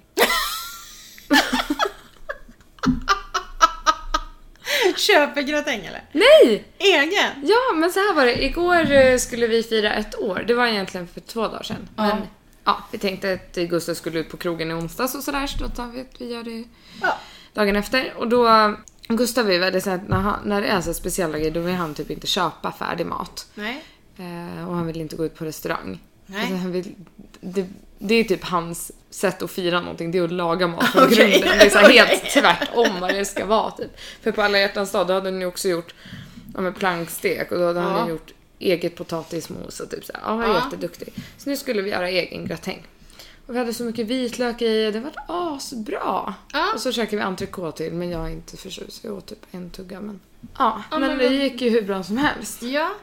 [SPEAKER 2] Köper gratäng eller?
[SPEAKER 1] Nej!
[SPEAKER 2] Egen?
[SPEAKER 1] Ja, men så här var det. Igår eh, skulle vi fira ett år. Det var egentligen för två dagar sedan.
[SPEAKER 2] Ja.
[SPEAKER 1] Men ja, vi tänkte att eh, Gustav skulle ut på krogen i onsdags och sådär, så då tar vi att vi gör det
[SPEAKER 2] Ja.
[SPEAKER 1] dagen efter. Och då, Gustav är väldigt såhär, när, han- när det är så här speciella grejer då vill han typ inte köpa färdig mat.
[SPEAKER 2] Nej.
[SPEAKER 1] Eh, och han vill inte gå ut på restaurang.
[SPEAKER 2] Nej.
[SPEAKER 1] Alltså, han vill, det, det är typ hans sätt att fira någonting, det är att laga mat från
[SPEAKER 2] *laughs* Okej.
[SPEAKER 1] grunden. Det är så här helt
[SPEAKER 2] Okej.
[SPEAKER 1] tvärtom vad det ska vara. Typ. För på alla hjärtans dag, då hade han ju också gjort ja, men plankstek och då hade han
[SPEAKER 2] Ja.
[SPEAKER 1] ju gjort eget potatismos och typ så här. Ja, han är
[SPEAKER 2] Ja.
[SPEAKER 1] jätteduktig. Så nu skulle vi göra egen gratäng. Och vi hade så mycket vitlök i, det vart asbra.
[SPEAKER 2] Ja.
[SPEAKER 1] Och så käkade vi entrecote till, men jag är inte förtjust. Jag åt typ en tugga, men... Ja,
[SPEAKER 2] Ja,
[SPEAKER 1] men
[SPEAKER 2] men
[SPEAKER 1] det
[SPEAKER 2] vad-
[SPEAKER 1] gick ju hur bra som helst.
[SPEAKER 2] Ja.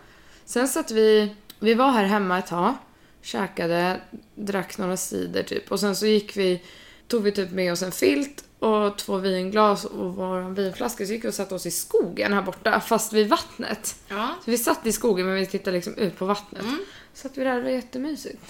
[SPEAKER 1] Sen satt vi, vi var här hemma ett tag, käkade, drack några cider typ och sen så gick vi, tog vi typ med oss en filt och två vinglas och vår vinflaska så gick vi och satte oss i skogen här borta fast vid vattnet.
[SPEAKER 2] Ja. Mm.
[SPEAKER 1] Så vi satt i skogen men vi tittade liksom ut på vattnet. Satt vi där, det var jättemysigt.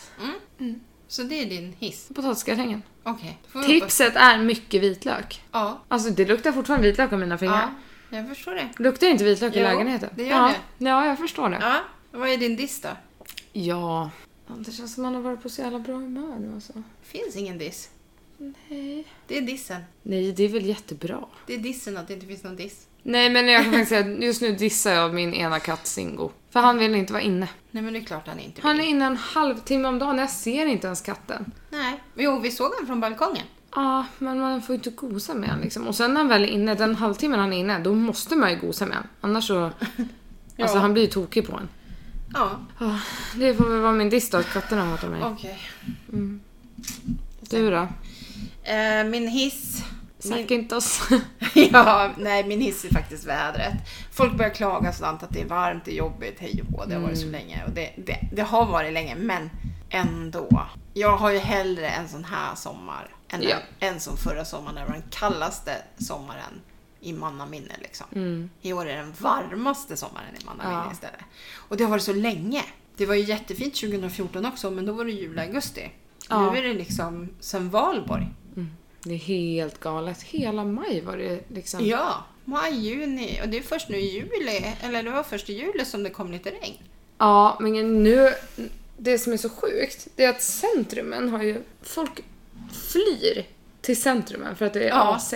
[SPEAKER 2] Så det är din hiss?
[SPEAKER 1] Potatisgratäng.
[SPEAKER 2] Okej. då får vi hoppas-
[SPEAKER 1] Tipset är mycket vitlök.
[SPEAKER 2] Ja,
[SPEAKER 1] Alltså det luktar fortfarande vitlök av mina
[SPEAKER 2] ja,
[SPEAKER 1] fingrar.
[SPEAKER 2] jag förstår det.
[SPEAKER 1] Luktar inte vitlök i
[SPEAKER 2] Jo,
[SPEAKER 1] lägenheten?
[SPEAKER 2] det gör
[SPEAKER 1] ja. Ja, jag förstår det.
[SPEAKER 2] Ja, vad är din diss då?
[SPEAKER 1] Ja. Ja, Det känns som man har varit på så jävla bra humör nu alltså.
[SPEAKER 2] Finns ingen diss.
[SPEAKER 1] Nej.
[SPEAKER 2] Det är dissen.
[SPEAKER 1] Nej, det är väl jättebra.
[SPEAKER 2] Det är dissen att det inte finns någon diss.
[SPEAKER 1] Nej, men jag kan faktiskt säga att just nu dissar jag min ena katt Singo. För han vill inte vara inne.
[SPEAKER 2] Nej men det är klart han inte vill.
[SPEAKER 1] Han är inne en halvtimme om dagen. Jag ser inte ens katten.
[SPEAKER 2] Nej. Jo, vi såg honom från balkongen.
[SPEAKER 1] Ja, men man får ju inte gosa med honom liksom. Och sen när han väl är inne, den halvtimmen han är inne, då måste man ju gosa med honom. Annars *laughs* så... Alltså
[SPEAKER 2] Ja.
[SPEAKER 1] han blir ju tokig på en.
[SPEAKER 2] Ja,
[SPEAKER 1] Ja, det får väl vara min diss då, att katterna hatar mig.
[SPEAKER 2] okej.
[SPEAKER 1] Du då?
[SPEAKER 2] Eh, min hiss... *laughs* Min...
[SPEAKER 1] Snack inte oss.
[SPEAKER 2] ja, nej, min hiss är faktiskt vädret. Folk börjar klaga sådant att det är varmt, det är jobbigt, hej och hå, det har varit så
[SPEAKER 1] Mm.
[SPEAKER 2] länge. Och det, det, det har varit länge, men ändå. Jag har ju hellre en sån här sommar än
[SPEAKER 1] Ja.
[SPEAKER 2] en, en som förra sommaren, när det var den kallaste sommaren i mannaminne. Liksom. I år är den varmaste sommaren i mannaminne
[SPEAKER 1] Mm. Ja.
[SPEAKER 2] istället. Och det har varit så länge. Det var ju jättefint 2014 också, men då var det jul i augusti.
[SPEAKER 1] Ja.
[SPEAKER 2] Nu är det liksom sen valborg.
[SPEAKER 1] Det är helt galet. Hela maj var det liksom...
[SPEAKER 2] Ja, maj, juni. Och det är först nu i juli, eller det var först i juli som det kom lite regn.
[SPEAKER 1] Ja, men nu... Det som är så sjukt, det är att centrumen har ju... Folk flyr till centrumen för att det är
[SPEAKER 2] Ja.
[SPEAKER 1] AC.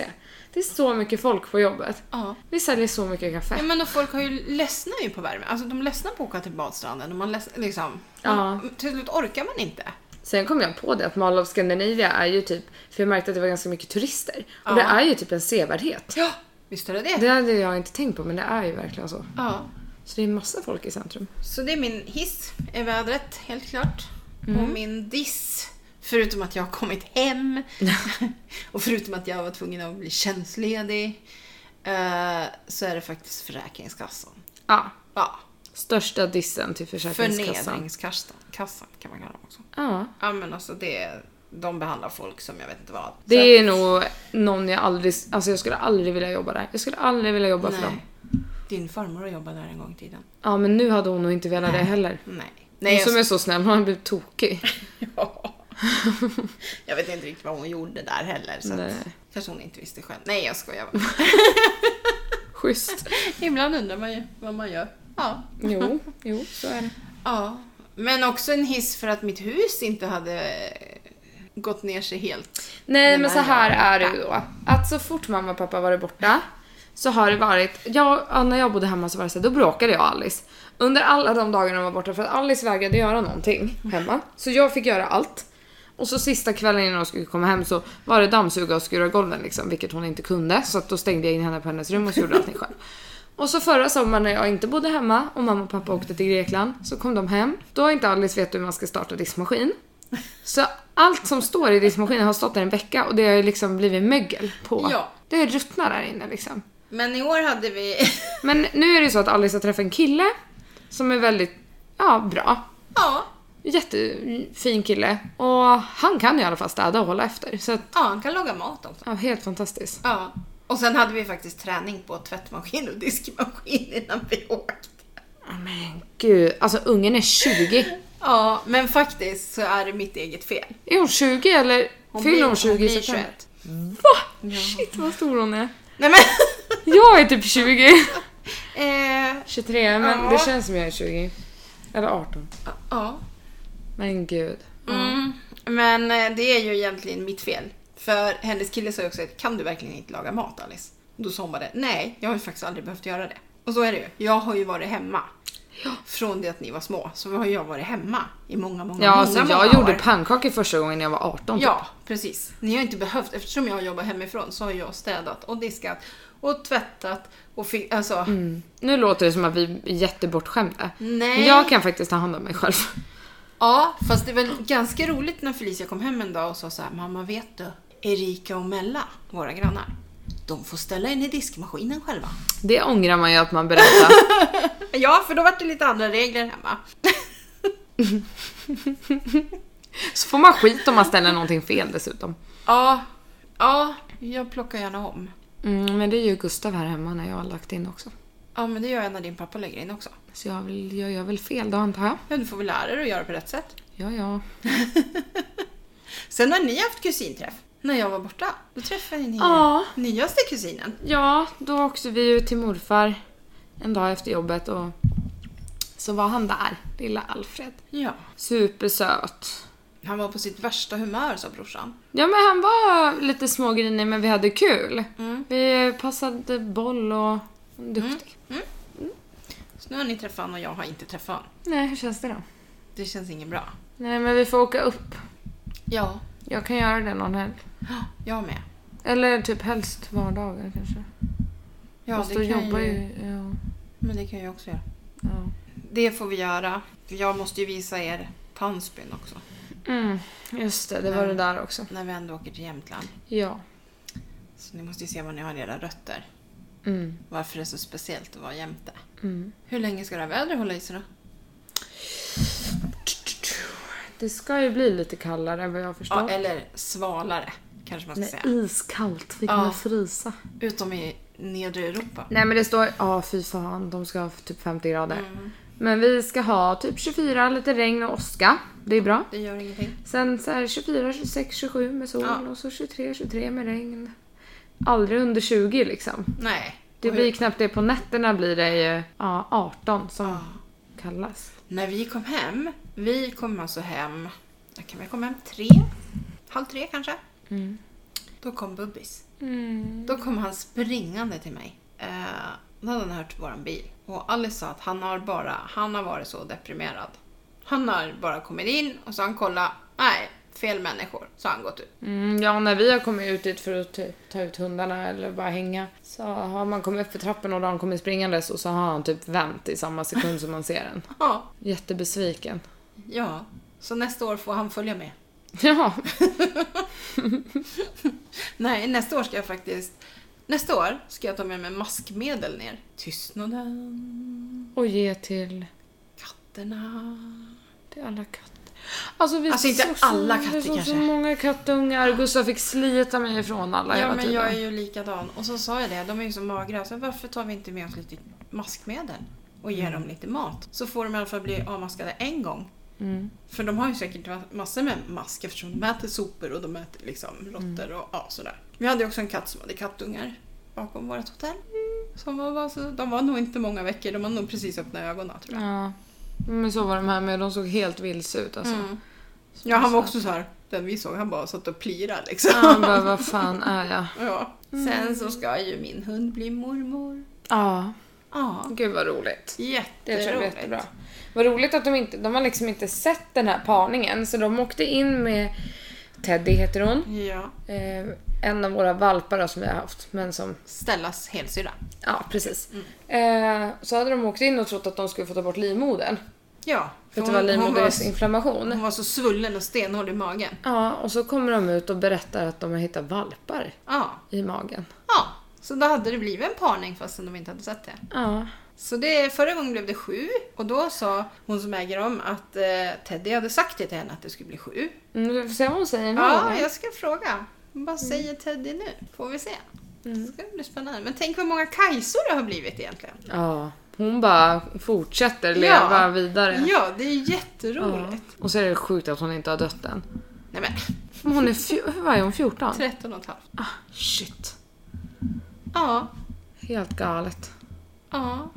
[SPEAKER 1] Det är så mycket folk på jobbet.
[SPEAKER 2] Ja.
[SPEAKER 1] Vi säljer så mycket kaffe.
[SPEAKER 2] ja men och folk har ju ledsnat ju på värme. Alltså de ledsnar på att åka till badstranden. Och man ledsnar, liksom,
[SPEAKER 1] Ja.
[SPEAKER 2] Till slut orkar man inte.
[SPEAKER 1] Sen kom jag på det att Mall of Scandinavia är ju typ... För jag märkte att det var ganska mycket turister. Och
[SPEAKER 2] Ja.
[SPEAKER 1] det är ju typ en sevärdhet.
[SPEAKER 2] Ja, visst är det det?
[SPEAKER 1] Det hade jag inte tänkt på, men det är ju verkligen så.
[SPEAKER 2] Ja.
[SPEAKER 1] Så det är massa folk i centrum.
[SPEAKER 2] Så det är min hiss, är vädret helt klart. Och min diss, förutom att jag har kommit *laughs* hem och förutom att jag var tvungen att bli tjänstledig, eh, så är det faktiskt Försäkringskassan.
[SPEAKER 1] Ja.
[SPEAKER 2] Ja,
[SPEAKER 1] Största dissen till Försäkringskassan.
[SPEAKER 2] Förnedringskassan kassan kan man kalla dem också.
[SPEAKER 1] Ja.
[SPEAKER 2] Ja men alltså det, de behandlar folk som jag vet inte vad.
[SPEAKER 1] Det
[SPEAKER 2] Så
[SPEAKER 1] är nog någon jag aldrig... Alltså jag skulle aldrig vilja jobba där. Jag skulle aldrig vilja jobba
[SPEAKER 2] att-
[SPEAKER 1] för dem.
[SPEAKER 2] nej. Din farmor jobbade där en gång i tiden.
[SPEAKER 1] Ja, men nu hade hon nog inte velat det heller.
[SPEAKER 2] Nej.
[SPEAKER 1] Hon
[SPEAKER 2] Nej, jag,
[SPEAKER 1] som är så snäll, hon har blivit tokig.
[SPEAKER 2] ja. jag vet inte riktigt vad hon gjorde där heller. Så att,
[SPEAKER 1] Nej.
[SPEAKER 2] kanske hon inte visste själv. Nej jag skojar bara.
[SPEAKER 1] Schysst.
[SPEAKER 2] *laughs* Ibland undrar man ju vad man gör. Ja.
[SPEAKER 1] Jo, jo, så är det.
[SPEAKER 2] ja. Men också en hiss för att mitt hus inte hade eh, gått ner sig helt.
[SPEAKER 1] Nej,
[SPEAKER 2] Men
[SPEAKER 1] men så
[SPEAKER 2] när
[SPEAKER 1] här
[SPEAKER 2] jag var
[SPEAKER 1] är det ju då. Att så fort mamma och pappa varit borta så har det varit... Jag, när jag bodde hemma så var det så här, då bråkade jag och Alice. Under alla de dagarna de var borta för att Alice vägrade göra någonting hemma. Så jag fick göra allt. Och så sista kvällen innan hon skulle komma hem så var det dammsuga och skura golven liksom, vilket hon inte kunde. Så att då stängde jag in henne på hennes rum och så gjorde allting
[SPEAKER 2] *laughs*
[SPEAKER 1] själv. Och så förra sommaren när jag inte bodde hemma och mamma och pappa åkte till Grekland så kom de hem. Då har inte Alice vet hur man ska starta diskmaskin. Så allt som står i diskmaskinen har stått där en vecka och det har ju liksom blivit mögel på.
[SPEAKER 2] Ja.
[SPEAKER 1] Det har ju ruttnat där inne liksom.
[SPEAKER 2] Men i år hade vi... *laughs*
[SPEAKER 1] Men nu är det ju så att Alice har träffat en kille som är väldigt, ja, bra.
[SPEAKER 2] ja.
[SPEAKER 1] Jättefin kille. Och han kan ju i alla fall städa och hålla efter. Så att,
[SPEAKER 2] ja, han kan laga mat också.
[SPEAKER 1] ja, helt fantastiskt.
[SPEAKER 2] Ja. Och sen hade vi faktiskt träning på tvättmaskin och diskmaskin innan vi åkte.
[SPEAKER 1] Men gud, alltså ungen är 20.
[SPEAKER 2] Ja, men faktiskt så är det mitt eget fel.
[SPEAKER 1] Är hon 20 eller fyller hon 20 i
[SPEAKER 2] blir
[SPEAKER 1] september?
[SPEAKER 2] 21.
[SPEAKER 1] Va? Shit vad stor hon är.
[SPEAKER 2] Nej men! *laughs*
[SPEAKER 1] Jag är typ *laughs* 20.
[SPEAKER 2] eh,
[SPEAKER 1] 23, men
[SPEAKER 2] Ja.
[SPEAKER 1] det känns som jag är 20. Eller 18.
[SPEAKER 2] ja.
[SPEAKER 1] Men gud.
[SPEAKER 2] Mm. Men eh, det är ju egentligen mitt fel. För hennes kille sa ju också kan du verkligen inte laga mat Alice? Och då sa hon bara det, nej, jag har ju faktiskt aldrig behövt göra det. Och så är det ju. Jag har ju varit hemma. Från det att ni var små så har jag varit hemma i många, många,
[SPEAKER 1] Ja,
[SPEAKER 2] många,
[SPEAKER 1] alltså
[SPEAKER 2] många
[SPEAKER 1] jag gjorde
[SPEAKER 2] år.
[SPEAKER 1] pannkakor första gången jag var 18. typ.
[SPEAKER 2] Ja, precis. Ni har inte behövt, eftersom jag jobbar hemifrån så har jag städat och diskat och tvättat och fi- alltså,
[SPEAKER 1] Mm. Nu låter det som att vi är jättebortskämda.
[SPEAKER 2] nej.
[SPEAKER 1] Men jag kan faktiskt ta hand om mig själv.
[SPEAKER 2] Ja, fast det var ganska roligt när Felicia kom hem en dag och sa så här, mamma vet du, Erika och Mella, våra grannar, de får ställa in i diskmaskinen själva.
[SPEAKER 1] Det ångrar man ju att man *laughs* berättar.
[SPEAKER 2] Ja, för då var det lite andra regler hemma.
[SPEAKER 1] Så får man skit om man ställer någonting fel dessutom.
[SPEAKER 2] Ja, ja, jag plockar gärna om.
[SPEAKER 1] Mm, men det är ju Gustav här hemma när jag har lagt in också.
[SPEAKER 2] Ja, men det gör jag när din pappa lägger in också.
[SPEAKER 1] Så jag, vill, jag gör väl fel då antar jag.
[SPEAKER 2] Men du får väl lära dig att göra på rätt sätt.
[SPEAKER 1] Ja, ja.
[SPEAKER 2] Sen har ni haft kusinträff. När jag var borta, då träffade ni
[SPEAKER 1] Ja.
[SPEAKER 2] nyaste kusinen.
[SPEAKER 1] Ja, då åkte vi ju till morfar en dag efter jobbet och så var han där, lilla Alfred.
[SPEAKER 2] Ja.
[SPEAKER 1] Supersöt.
[SPEAKER 2] Han var på sitt värsta humör, sa brorsan.
[SPEAKER 1] Ja men han var lite smågrinig men vi hade kul.
[SPEAKER 2] Mm.
[SPEAKER 1] Vi passade boll och duktig.
[SPEAKER 2] Så nu har ni träffat honom och jag har inte träffat honom.
[SPEAKER 1] Nej, hur känns det då?
[SPEAKER 2] Det känns inget bra.
[SPEAKER 1] Nej men vi får åka upp.
[SPEAKER 2] Ja.
[SPEAKER 1] Jag kan göra det någon helg.
[SPEAKER 2] Jag med.
[SPEAKER 1] Eller typ helst vardagar kanske.
[SPEAKER 2] Ja,
[SPEAKER 1] Fast då jobbar ju... Ja,
[SPEAKER 2] Men det kan jag också göra.
[SPEAKER 1] ja.
[SPEAKER 2] Det får vi göra. För jag måste ju visa er Tandsbyn också.
[SPEAKER 1] Mm, just det, det var
[SPEAKER 2] Nej.
[SPEAKER 1] det där också.
[SPEAKER 2] När vi ändå åker till Jämtland.
[SPEAKER 1] Ja.
[SPEAKER 2] Så ni måste ju se var ni har era rötter.
[SPEAKER 1] Mm,
[SPEAKER 2] Varför det är så speciellt att vara jämte.
[SPEAKER 1] mm.
[SPEAKER 2] Hur länge ska det här vädret hålla i sig då?
[SPEAKER 1] Det ska ju bli lite kallare vad jag förstår.
[SPEAKER 2] Ja, eller svalare kanske man ska
[SPEAKER 1] Nej,
[SPEAKER 2] säga.
[SPEAKER 1] iskallt. Vi
[SPEAKER 2] Ja.
[SPEAKER 1] kommer frysa.
[SPEAKER 2] Utom i nedre Europa.
[SPEAKER 1] Nej men det står, ja fy fan, de ska ha typ 50 grader.
[SPEAKER 2] Mm.
[SPEAKER 1] Men vi ska ha typ 24, lite regn och åska. Det är bra.
[SPEAKER 2] Det gör ingenting.
[SPEAKER 1] Sen så här 24, 26, 27 med sol
[SPEAKER 2] Ja.
[SPEAKER 1] och så 23, 23 med regn. Aldrig under 20 liksom.
[SPEAKER 2] Nej.
[SPEAKER 1] Det
[SPEAKER 2] Och
[SPEAKER 1] blir
[SPEAKER 2] hur-
[SPEAKER 1] knappt det. På nätterna blir det ju ja, 18 som
[SPEAKER 2] Ja.
[SPEAKER 1] kallas.
[SPEAKER 2] När vi kom hem, vi kom alltså hem, jag kan väl komma hem tre, halv tre kanske. Då kom Bubbis. Då kom han springande till mig. Eh, då hade han hört våran bil. Och Alice sa att han har bara, han har varit så deprimerad. Han har bara kommit in och så har han kollat, nej, fel människor. Så har han gått ut.
[SPEAKER 1] Mm, ja, när vi har kommit ut dit för att typ, ta ut hundarna eller bara hänga så har man kommit upp för trappen och då har han kommit springandes och så har han typ vänt i samma sekund som man ser den.
[SPEAKER 2] Ja,
[SPEAKER 1] Jättebesviken. *laughs*
[SPEAKER 2] ja. Så nästa år får han följa med.
[SPEAKER 1] Ja,
[SPEAKER 2] Nej, nästa år ska jag faktiskt... Nästa år ska jag ta med mig maskmedel ner. Tystnaden,
[SPEAKER 1] och ge till,
[SPEAKER 2] katterna...
[SPEAKER 1] till alla katter. Alltså, vi
[SPEAKER 2] Alltså, inte
[SPEAKER 1] såg
[SPEAKER 2] alla
[SPEAKER 1] så,
[SPEAKER 2] katter
[SPEAKER 1] vi såg
[SPEAKER 2] kanske.
[SPEAKER 1] Så många kattungar. Gustav fick slita mig ifrån alla
[SPEAKER 2] Ja,
[SPEAKER 1] hela
[SPEAKER 2] men
[SPEAKER 1] tiden.
[SPEAKER 2] jag typ är ju likadan. Och så sa jag det, de är ju så magra, så varför tar vi inte med oss lite maskmedel och ger dem lite mat? Så får de i alla fall bli avmaskade en gång.
[SPEAKER 1] Mm.
[SPEAKER 2] För de har ju säkert ma- massor med mask eftersom de äter sopor och de äter liksom råttor och ja, sådär. Vi hade ju också en katt som hade kattungar bakom vårt hotell. Som var bara så, de var nog inte många veckor, de hade nog precis öppnat ögonen tror jag.
[SPEAKER 1] Ja. Men så var de här med. De såg helt vilse ut alltså.
[SPEAKER 2] Mm.
[SPEAKER 1] Så-
[SPEAKER 2] Ja, han var
[SPEAKER 1] så-
[SPEAKER 2] också så här. Den vi såg, han bara satt och plirade liksom.
[SPEAKER 1] Ja, han bara, vad fan är jag?
[SPEAKER 2] Ja. Sen så ska ju min hund bli mormor.
[SPEAKER 1] Ja,
[SPEAKER 2] Ja,
[SPEAKER 1] gud vad roligt.
[SPEAKER 2] jätteroligt.
[SPEAKER 1] Det tror jag blir jättebra. Vad roligt att de inte, de har liksom inte sett den här parningen så de åkte in med Teddy heter hon.
[SPEAKER 2] Ja.
[SPEAKER 1] Eh, en av våra valpar då, som vi har haft men som,
[SPEAKER 2] Stellas helsyrra.
[SPEAKER 1] ja precis. Eh, så hade de åkt in och trott att de skulle få ta bort livmodern.
[SPEAKER 2] Ja,
[SPEAKER 1] För
[SPEAKER 2] för
[SPEAKER 1] att det var
[SPEAKER 2] hon, var,
[SPEAKER 1] livmoderinflammation.
[SPEAKER 2] hon var så svullen och stenhård i magen.
[SPEAKER 1] Ja, och så kommer de ut och berättar att de har hittat valpar
[SPEAKER 2] Ja.
[SPEAKER 1] i magen.
[SPEAKER 2] ja, så då hade det blivit en parning fastän de inte hade sett det.
[SPEAKER 1] Ja.
[SPEAKER 2] Så det, förra gången blev det sju och då sa hon som äger dem att eh, Teddy hade sagt det till henne att det skulle bli sju.
[SPEAKER 1] Mm, vi får se vad hon säger nu.
[SPEAKER 2] Ja, Mm. jag ska fråga. Vad säger Teddy nu? Får vi se. Det ska bli spännande. Men tänk hur många Kajsor det har blivit egentligen.
[SPEAKER 1] ja. Hon bara fortsätter leva
[SPEAKER 2] Ja.
[SPEAKER 1] vidare.
[SPEAKER 2] Ja, det är ju
[SPEAKER 1] Ja.
[SPEAKER 2] jätteroligt.
[SPEAKER 1] Och så är det sjukt att hon inte har dött än.
[SPEAKER 2] Nej men,
[SPEAKER 1] Men Hon är, fj- hur var hon? 14?
[SPEAKER 2] 13 och ett halvt.
[SPEAKER 1] Ah, shit.
[SPEAKER 2] Ja,
[SPEAKER 1] Helt galet.
[SPEAKER 2] ja.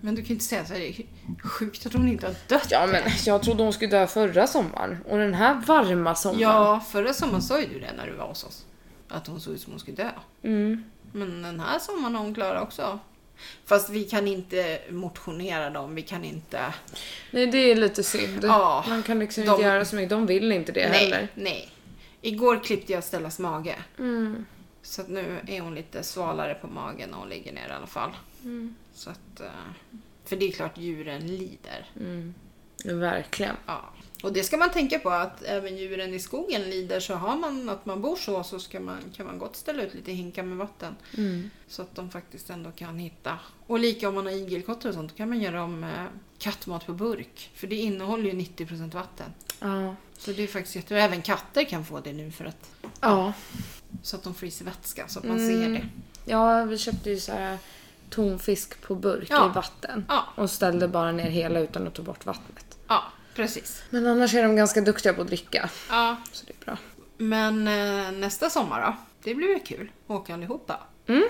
[SPEAKER 2] Men du kan ju inte säga så här, det är sjukt att hon inte har dött.
[SPEAKER 1] Ja men jag trodde hon skulle dö förra sommaren. Och den här varma sommaren.
[SPEAKER 2] Ja, förra sommaren sa ju du det när du var hos oss. Att hon såg ut som hon skulle dö.
[SPEAKER 1] Mm.
[SPEAKER 2] Men den här sommaren har hon klarat också. Fast vi kan inte motionera dem, vi kan inte...
[SPEAKER 1] Nej det är lite synd.
[SPEAKER 2] Ja,
[SPEAKER 1] Man kan liksom
[SPEAKER 2] de-
[SPEAKER 1] inte göra så mycket. De vill inte det heller.
[SPEAKER 2] Nej, nej. Igår klippte jag Stellas mage.
[SPEAKER 1] Mm.
[SPEAKER 2] Så att nu är hon lite svalare på magen när hon ligger ner i alla fall. Så att, eh, för det är klart djuren lider.
[SPEAKER 1] Verkligen.
[SPEAKER 2] Ja. Och det ska man tänka på att även djuren i skogen lider. Så har man att man bor så så ska man, kan man gott ställa ut lite hinkar med vatten. Så att de faktiskt ändå kan hitta. Och lika om man har igelkottar och sånt då kan man göra om eh, kattmat på burk. För det innehåller ju 90% vatten.
[SPEAKER 1] Ja.
[SPEAKER 2] Så det är faktiskt jättebra. Även katter kan få det nu för att,
[SPEAKER 1] Ja.
[SPEAKER 2] så att de får i sig vätska så att man ser det.
[SPEAKER 1] Ja vi köpte ju så här tonfisk på burk
[SPEAKER 2] Ja.
[SPEAKER 1] i vatten.
[SPEAKER 2] Ja.
[SPEAKER 1] Och ställde bara ner hela utan att ta bort vattnet.
[SPEAKER 2] Ja, precis.
[SPEAKER 1] Men annars är de ganska duktiga på att dricka.
[SPEAKER 2] Ja.
[SPEAKER 1] Så det är bra.
[SPEAKER 2] Men eh, nästa sommar då? Det blir väl kul? Åka allihopa?
[SPEAKER 1] Mm.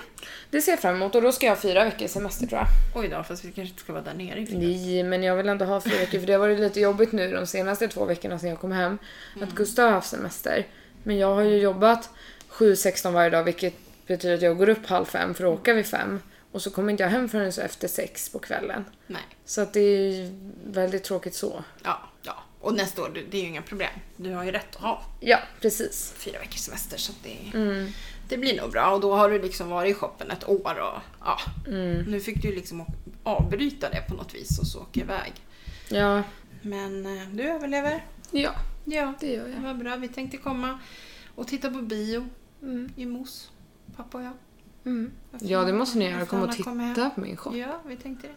[SPEAKER 1] Det ser jag fram emot och då ska jag ha fyra veckors semester tror jag.
[SPEAKER 2] Oj då, fast vi kanske inte ska vara där nere. i fredags.
[SPEAKER 1] Nej, men jag vill ändå ha fyra veckor för det har varit lite jobbigt nu de senaste två veckorna sedan jag kom hem.
[SPEAKER 2] Mm.
[SPEAKER 1] Att Gustav har haft semester. Men jag har ju jobbat 7-16 varje dag vilket betyder att jag går upp halv fem för att åka vid fem. Och så kommer inte jag hem förrän så efter sex på kvällen.
[SPEAKER 2] Nej.
[SPEAKER 1] Så att det är ju väldigt tråkigt så.
[SPEAKER 2] Ja, ja. Och nästa år, det det är ju inga problem. Du har ju rätt att ha
[SPEAKER 1] Ja, precis. Mm,
[SPEAKER 2] fyra veckors semester så att det, Mm. det blir nog bra. Och då har du liksom varit i shoppen ett år och ja.
[SPEAKER 1] mm.
[SPEAKER 2] Nu fick du liksom å- avbryta det på något vis och så åka iväg.
[SPEAKER 1] Ja.
[SPEAKER 2] Men eh, du överlever.
[SPEAKER 1] Ja,
[SPEAKER 2] Ja,
[SPEAKER 1] det gör
[SPEAKER 2] det
[SPEAKER 1] jag.
[SPEAKER 2] var bra. Vi tänkte komma och titta på bio
[SPEAKER 1] Mm.
[SPEAKER 2] i Mos, pappa och jag.
[SPEAKER 1] Mm. Ja, det måste ni göra. Kom och
[SPEAKER 2] Efter Anna kom hem.
[SPEAKER 1] titta på min shop.
[SPEAKER 2] Ja, vi tänkte det.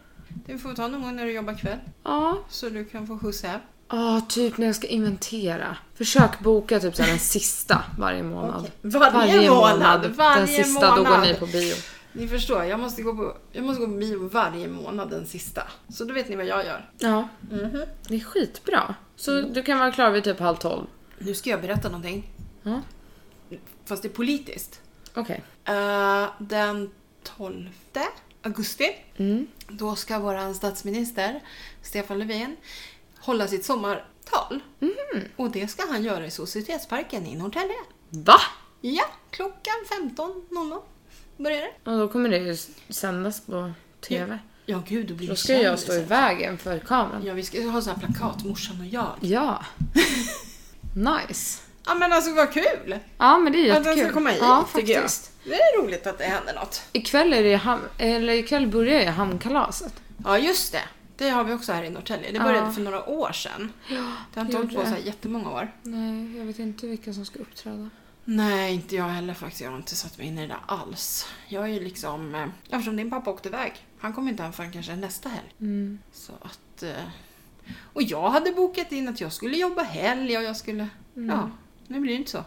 [SPEAKER 2] Det får vi ta någon gång när du jobbar kväll.
[SPEAKER 1] Ja.
[SPEAKER 2] Så du kan få skjuts hem.
[SPEAKER 1] Ja, typ när jag ska inventera. Försök boka typ så här den sista varje månad.
[SPEAKER 2] Okej. Varje månad, varje
[SPEAKER 1] den sista, då går
[SPEAKER 2] månad.
[SPEAKER 1] ni på bio.
[SPEAKER 2] Ni förstår, jag måste, gå på, jag måste gå på bio varje månad den sista. Så då vet ni vad jag gör.
[SPEAKER 1] Ja, det är skitbra. Så du kan vara klar vid typ halv tolv.
[SPEAKER 2] Nu ska jag berätta någonting.
[SPEAKER 1] Ja.
[SPEAKER 2] Fast det är politiskt.
[SPEAKER 1] Okej.
[SPEAKER 2] Eh, den 12 augusti,
[SPEAKER 1] Mm.
[SPEAKER 2] då ska vår statsminister Stefan Löfven hålla sitt sommartal.
[SPEAKER 1] Mhm.
[SPEAKER 2] Och det ska han göra i Societetsparken i Norrtälje.
[SPEAKER 1] Va?
[SPEAKER 2] Ja, klockan 15.00 börjar det.
[SPEAKER 1] Och då kommer det ju sändas på TV.
[SPEAKER 2] Ja, gud, då blir
[SPEAKER 1] Då
[SPEAKER 2] det
[SPEAKER 1] ska jag stå
[SPEAKER 2] kändisar.
[SPEAKER 1] i vägen för kameran.
[SPEAKER 2] Ja, vi ska ha sån här plakat, morsan och jag.
[SPEAKER 1] Ja. Nice.
[SPEAKER 2] Ja men alltså vad kul!
[SPEAKER 1] Ja, men det är
[SPEAKER 2] Att
[SPEAKER 1] jättekul.
[SPEAKER 2] den ska komma hit
[SPEAKER 1] ja,
[SPEAKER 2] tycker jag.
[SPEAKER 1] faktiskt.
[SPEAKER 2] Det är roligt att det händer något.
[SPEAKER 1] Ikväll, är det ham- eller ikväll börjar ju hamnkalaset.
[SPEAKER 2] Ja just det. Det har vi också här i Norrtälje. Det
[SPEAKER 1] Ja.
[SPEAKER 2] började för några år sedan. Det
[SPEAKER 1] det
[SPEAKER 2] har inte hållit på
[SPEAKER 1] gjorde
[SPEAKER 2] så
[SPEAKER 1] det.
[SPEAKER 2] här jättemånga år.
[SPEAKER 1] Nej, jag vet inte vilka som ska uppträda.
[SPEAKER 2] Nej, inte jag heller faktiskt. Jag har inte satt mig in i det där alls. Jag är ju liksom... eh, Eftersom din pappa åkte iväg. Han kommer inte hem förrän kanske nästa helg.
[SPEAKER 1] Mm.
[SPEAKER 2] Så att... eh, Och jag hade bokat in att jag skulle jobba helg och jag skulle... Ja, nu blir det inte så.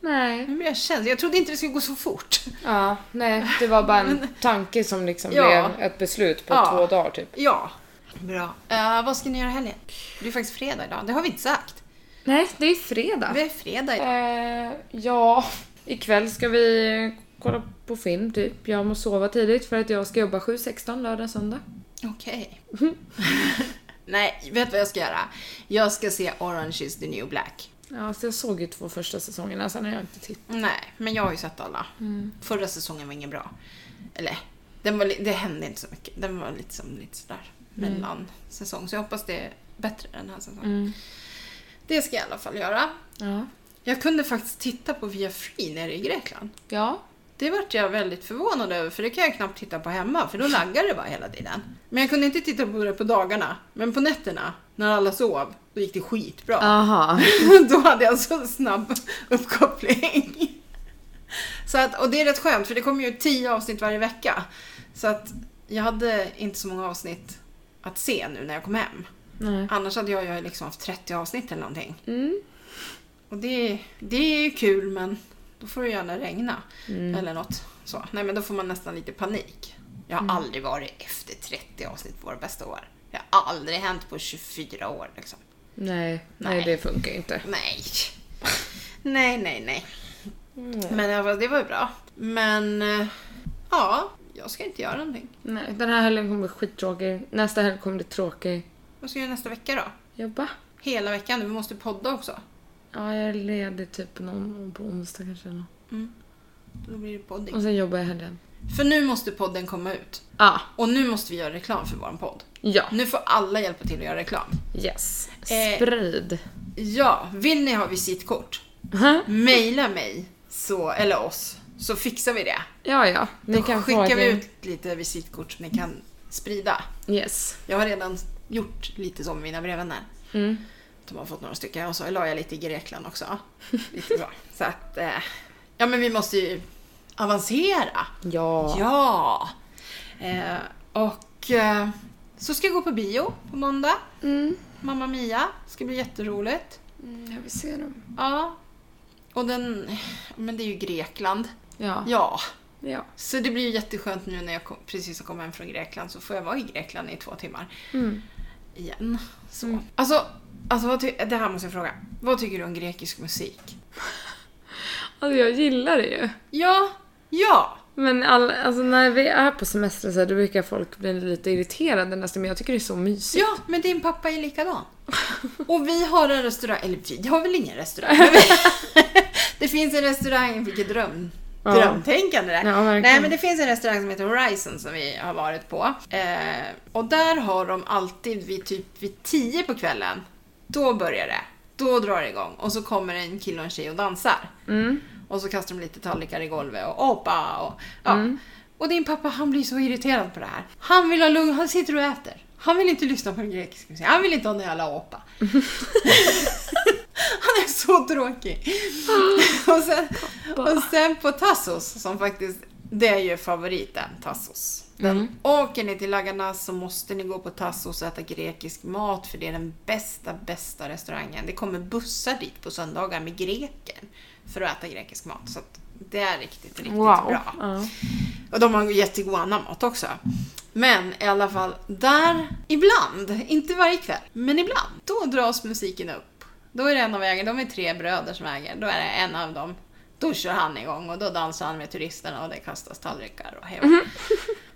[SPEAKER 1] Nej.
[SPEAKER 2] Nu blir jag känslig. Jag trodde inte det skulle gå så fort. *laughs*
[SPEAKER 1] Ja, nej, det var bara en tanke som liksom
[SPEAKER 2] Ja.
[SPEAKER 1] blev ett beslut på
[SPEAKER 2] Ja.
[SPEAKER 1] två dagar typ.
[SPEAKER 2] Ja. Bra. Eh, vad ska ni göra i helgen? Det är faktiskt fredag idag. Det har vi inte sagt.
[SPEAKER 1] Nej, det är fredag.
[SPEAKER 2] Det är fredag idag.
[SPEAKER 1] Eh, ja, ikväll ska vi kolla på film typ. Jag måste sova tidigt för att jag ska jobba 7.16 lördag söndag.
[SPEAKER 2] Okej. *laughs* Nej, vet du vad jag ska göra? Jag ska se Orange is the new black.
[SPEAKER 1] Ja, så jag såg ju två första säsongerna, sen har jag inte tittat.
[SPEAKER 2] Nej, men jag har ju sett alla. Förra säsongen var ingen bra. Eller, den var, li- det hände inte så mycket. Den var lite, som, lite sådär mellan säsong. Så jag hoppas det är bättre den här säsongen. Det ska jag i alla fall göra.
[SPEAKER 1] Ja.
[SPEAKER 2] Jag kunde faktiskt titta på Via Free nere i Grekland.
[SPEAKER 1] Ja.
[SPEAKER 2] Det vart jag väldigt förvånad över för det kan jag knappt titta på hemma för då laggar det bara hela tiden. Men jag kunde inte titta på det på dagarna. Men på nätterna, när alla sov, då gick det skitbra.
[SPEAKER 1] Aha.
[SPEAKER 2] *laughs* då hade jag så snabb uppkoppling. så att, och det är rätt skönt för det kommer ju tio avsnitt varje vecka. Så att jag hade inte så många avsnitt att se nu när jag kom hem.
[SPEAKER 1] Nej.
[SPEAKER 2] Annars hade jag ju liksom haft 30 avsnitt eller någonting.
[SPEAKER 1] Mm.
[SPEAKER 2] Och det, det är ju kul men då får det gärna regna. Eller något så. Nej men då får man nästan lite panik. Jag har aldrig varit efter 30 avsnitt på våra bästa år. Det har aldrig hänt på 24 år liksom.
[SPEAKER 1] Nej,
[SPEAKER 2] Nej.
[SPEAKER 1] nej, det funkar inte.
[SPEAKER 2] Nej. Nej, nej, nej. Men i alla fall, det var ju bra. Men eh, ja, jag ska inte göra någonting.
[SPEAKER 1] Nej, den här helgen kommer bli skittråkig. Nästa helg kommer bli tråkig.
[SPEAKER 2] Vad ska jag göra nästa vecka då?
[SPEAKER 1] Jobba.
[SPEAKER 2] Hela veckan, vi måste podda också.
[SPEAKER 1] Ja, jag är ledig typ någon på onsdag kanske. eller nåt.
[SPEAKER 2] Då blir det podding.
[SPEAKER 1] Och sen jobbar jag helgen.
[SPEAKER 2] För nu måste podden komma ut.
[SPEAKER 1] Ah,
[SPEAKER 2] Och nu måste vi göra reklam för vår podd.
[SPEAKER 1] ja.
[SPEAKER 2] Nu får alla hjälpa till att göra reklam.
[SPEAKER 1] Yes.
[SPEAKER 2] Eh.
[SPEAKER 1] Sprid.
[SPEAKER 2] Ja, vill ni ha visitkort?
[SPEAKER 1] Aha.
[SPEAKER 2] Mejla mig, så, eller oss, så fixar vi det.
[SPEAKER 1] Ja, ja. Ni
[SPEAKER 2] Då
[SPEAKER 1] kan få
[SPEAKER 2] skickar
[SPEAKER 1] ett
[SPEAKER 2] vi
[SPEAKER 1] gäng.
[SPEAKER 2] ut lite visitkort som ni kan sprida.
[SPEAKER 1] Yes.
[SPEAKER 2] Jag har redan gjort lite som mina brevvänner.
[SPEAKER 1] Mm.
[SPEAKER 2] De har fått några stycken och så la jag lite i
[SPEAKER 1] *laughs*
[SPEAKER 2] Grekland också. Lite bra. Så att, eh, ja men vi måste ju avancera.
[SPEAKER 1] Ja.
[SPEAKER 2] Ja! Eh, och eh, så ska jag gå på bio på måndag.
[SPEAKER 1] Mm.
[SPEAKER 2] Mamma Mia. Ska bli jätteroligt.
[SPEAKER 1] Jag vill se dem.
[SPEAKER 2] Ja. Och den, men det är ju Grekland.
[SPEAKER 1] Ja.
[SPEAKER 2] Ja,
[SPEAKER 1] Ja.
[SPEAKER 2] Så det blir ju jätteskönt nu när jag kom, precis har kommit hem från Grekland så får jag vara i Grekland i två timmar
[SPEAKER 1] Mm.
[SPEAKER 2] igen. Så.
[SPEAKER 1] Mm.
[SPEAKER 2] Alltså, alltså vad ty- det här måste jag fråga. Vad tycker du om grekisk musik?
[SPEAKER 1] Alltså jag gillar det ju.
[SPEAKER 2] Ja, ja!
[SPEAKER 1] Men all, alltså när vi är på semester så här, då brukar folk bli lite irriterade nästan, men jag tycker det är så mysigt.
[SPEAKER 2] Ja, men din pappa
[SPEAKER 1] *laughs*
[SPEAKER 2] är likadan. Och vi har en restaurang, eller vi har väl
[SPEAKER 1] *laughs*
[SPEAKER 2] ingen restaurang? men vi- *laughs* det finns en restaurang, vilket dröm,
[SPEAKER 1] Ja.
[SPEAKER 2] drömtänkande det är.
[SPEAKER 1] Ja, verkligen.
[SPEAKER 2] Nej men det finns en restaurang som heter Horizon som vi har varit på. Eh, och där har de alltid vid typ vid 10 på kvällen, då börjar det. Då drar det igång och så kommer en kille och en tjej och dansar.
[SPEAKER 1] Mm.
[SPEAKER 2] Och så kastar de lite tallrikar i golvet och hoppa och ja. Och din pappa han blir så irriterad på det här. Han vill ha lugn, han sitter och äter. Han vill inte lyssna på den grekiska musiken, han vill inte ha någon jävla apa. han är så tråkig. och, sen, och sen på Tassos, som faktiskt, det är ju favoriten, Tassos.
[SPEAKER 1] Mm.
[SPEAKER 2] Åker ni till Laganas så måste ni gå på Tassos och äta grekisk mat för det är den bästa, bästa restaurangen. Det kommer bussar dit på söndagar med greker för att äta grekisk mat. Så att det är riktigt, riktigt
[SPEAKER 1] Wow.
[SPEAKER 2] bra.
[SPEAKER 1] Ja.
[SPEAKER 2] Och de har ju jättegod annan mat också. Men i alla fall, där ibland, inte varje kväll, men ibland, då dras musiken upp. Då är det en av ägarna, de är tre bröder som äger, då är det en av dem. Då kör han igång och då dansar han med turisterna och det kastas tallrikar och hej och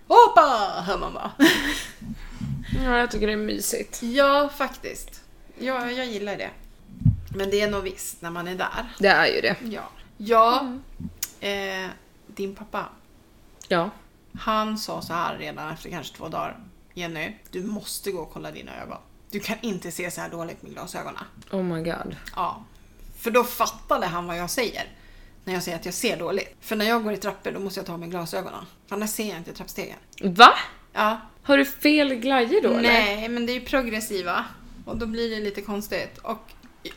[SPEAKER 2] Hoppa! hör man bara. *laughs*
[SPEAKER 1] ja, jag tycker det är mysigt.
[SPEAKER 2] Ja, faktiskt. Ja, jag gillar det. Men det är nog visst när man är där.
[SPEAKER 1] Det är ju det.
[SPEAKER 2] Ja. Ja, eh, din pappa,
[SPEAKER 1] Ja.
[SPEAKER 2] Han sa så här redan efter kanske två dagar. Jenny, du måste gå och kolla dina ögon. Du kan inte se så här dåligt med glasögonen.
[SPEAKER 1] Oh my god.
[SPEAKER 2] Ja. För då fattade han vad jag säger. När jag säger att jag ser dåligt. För när jag går i trappor då måste jag ta av mig glasögonen. För annars ser jag inte trappstegen.
[SPEAKER 1] Va?
[SPEAKER 2] Ja.
[SPEAKER 1] Har du fel glajjor då eller?
[SPEAKER 2] Nej, men det är ju progressiva. Och då blir det lite konstigt. Och,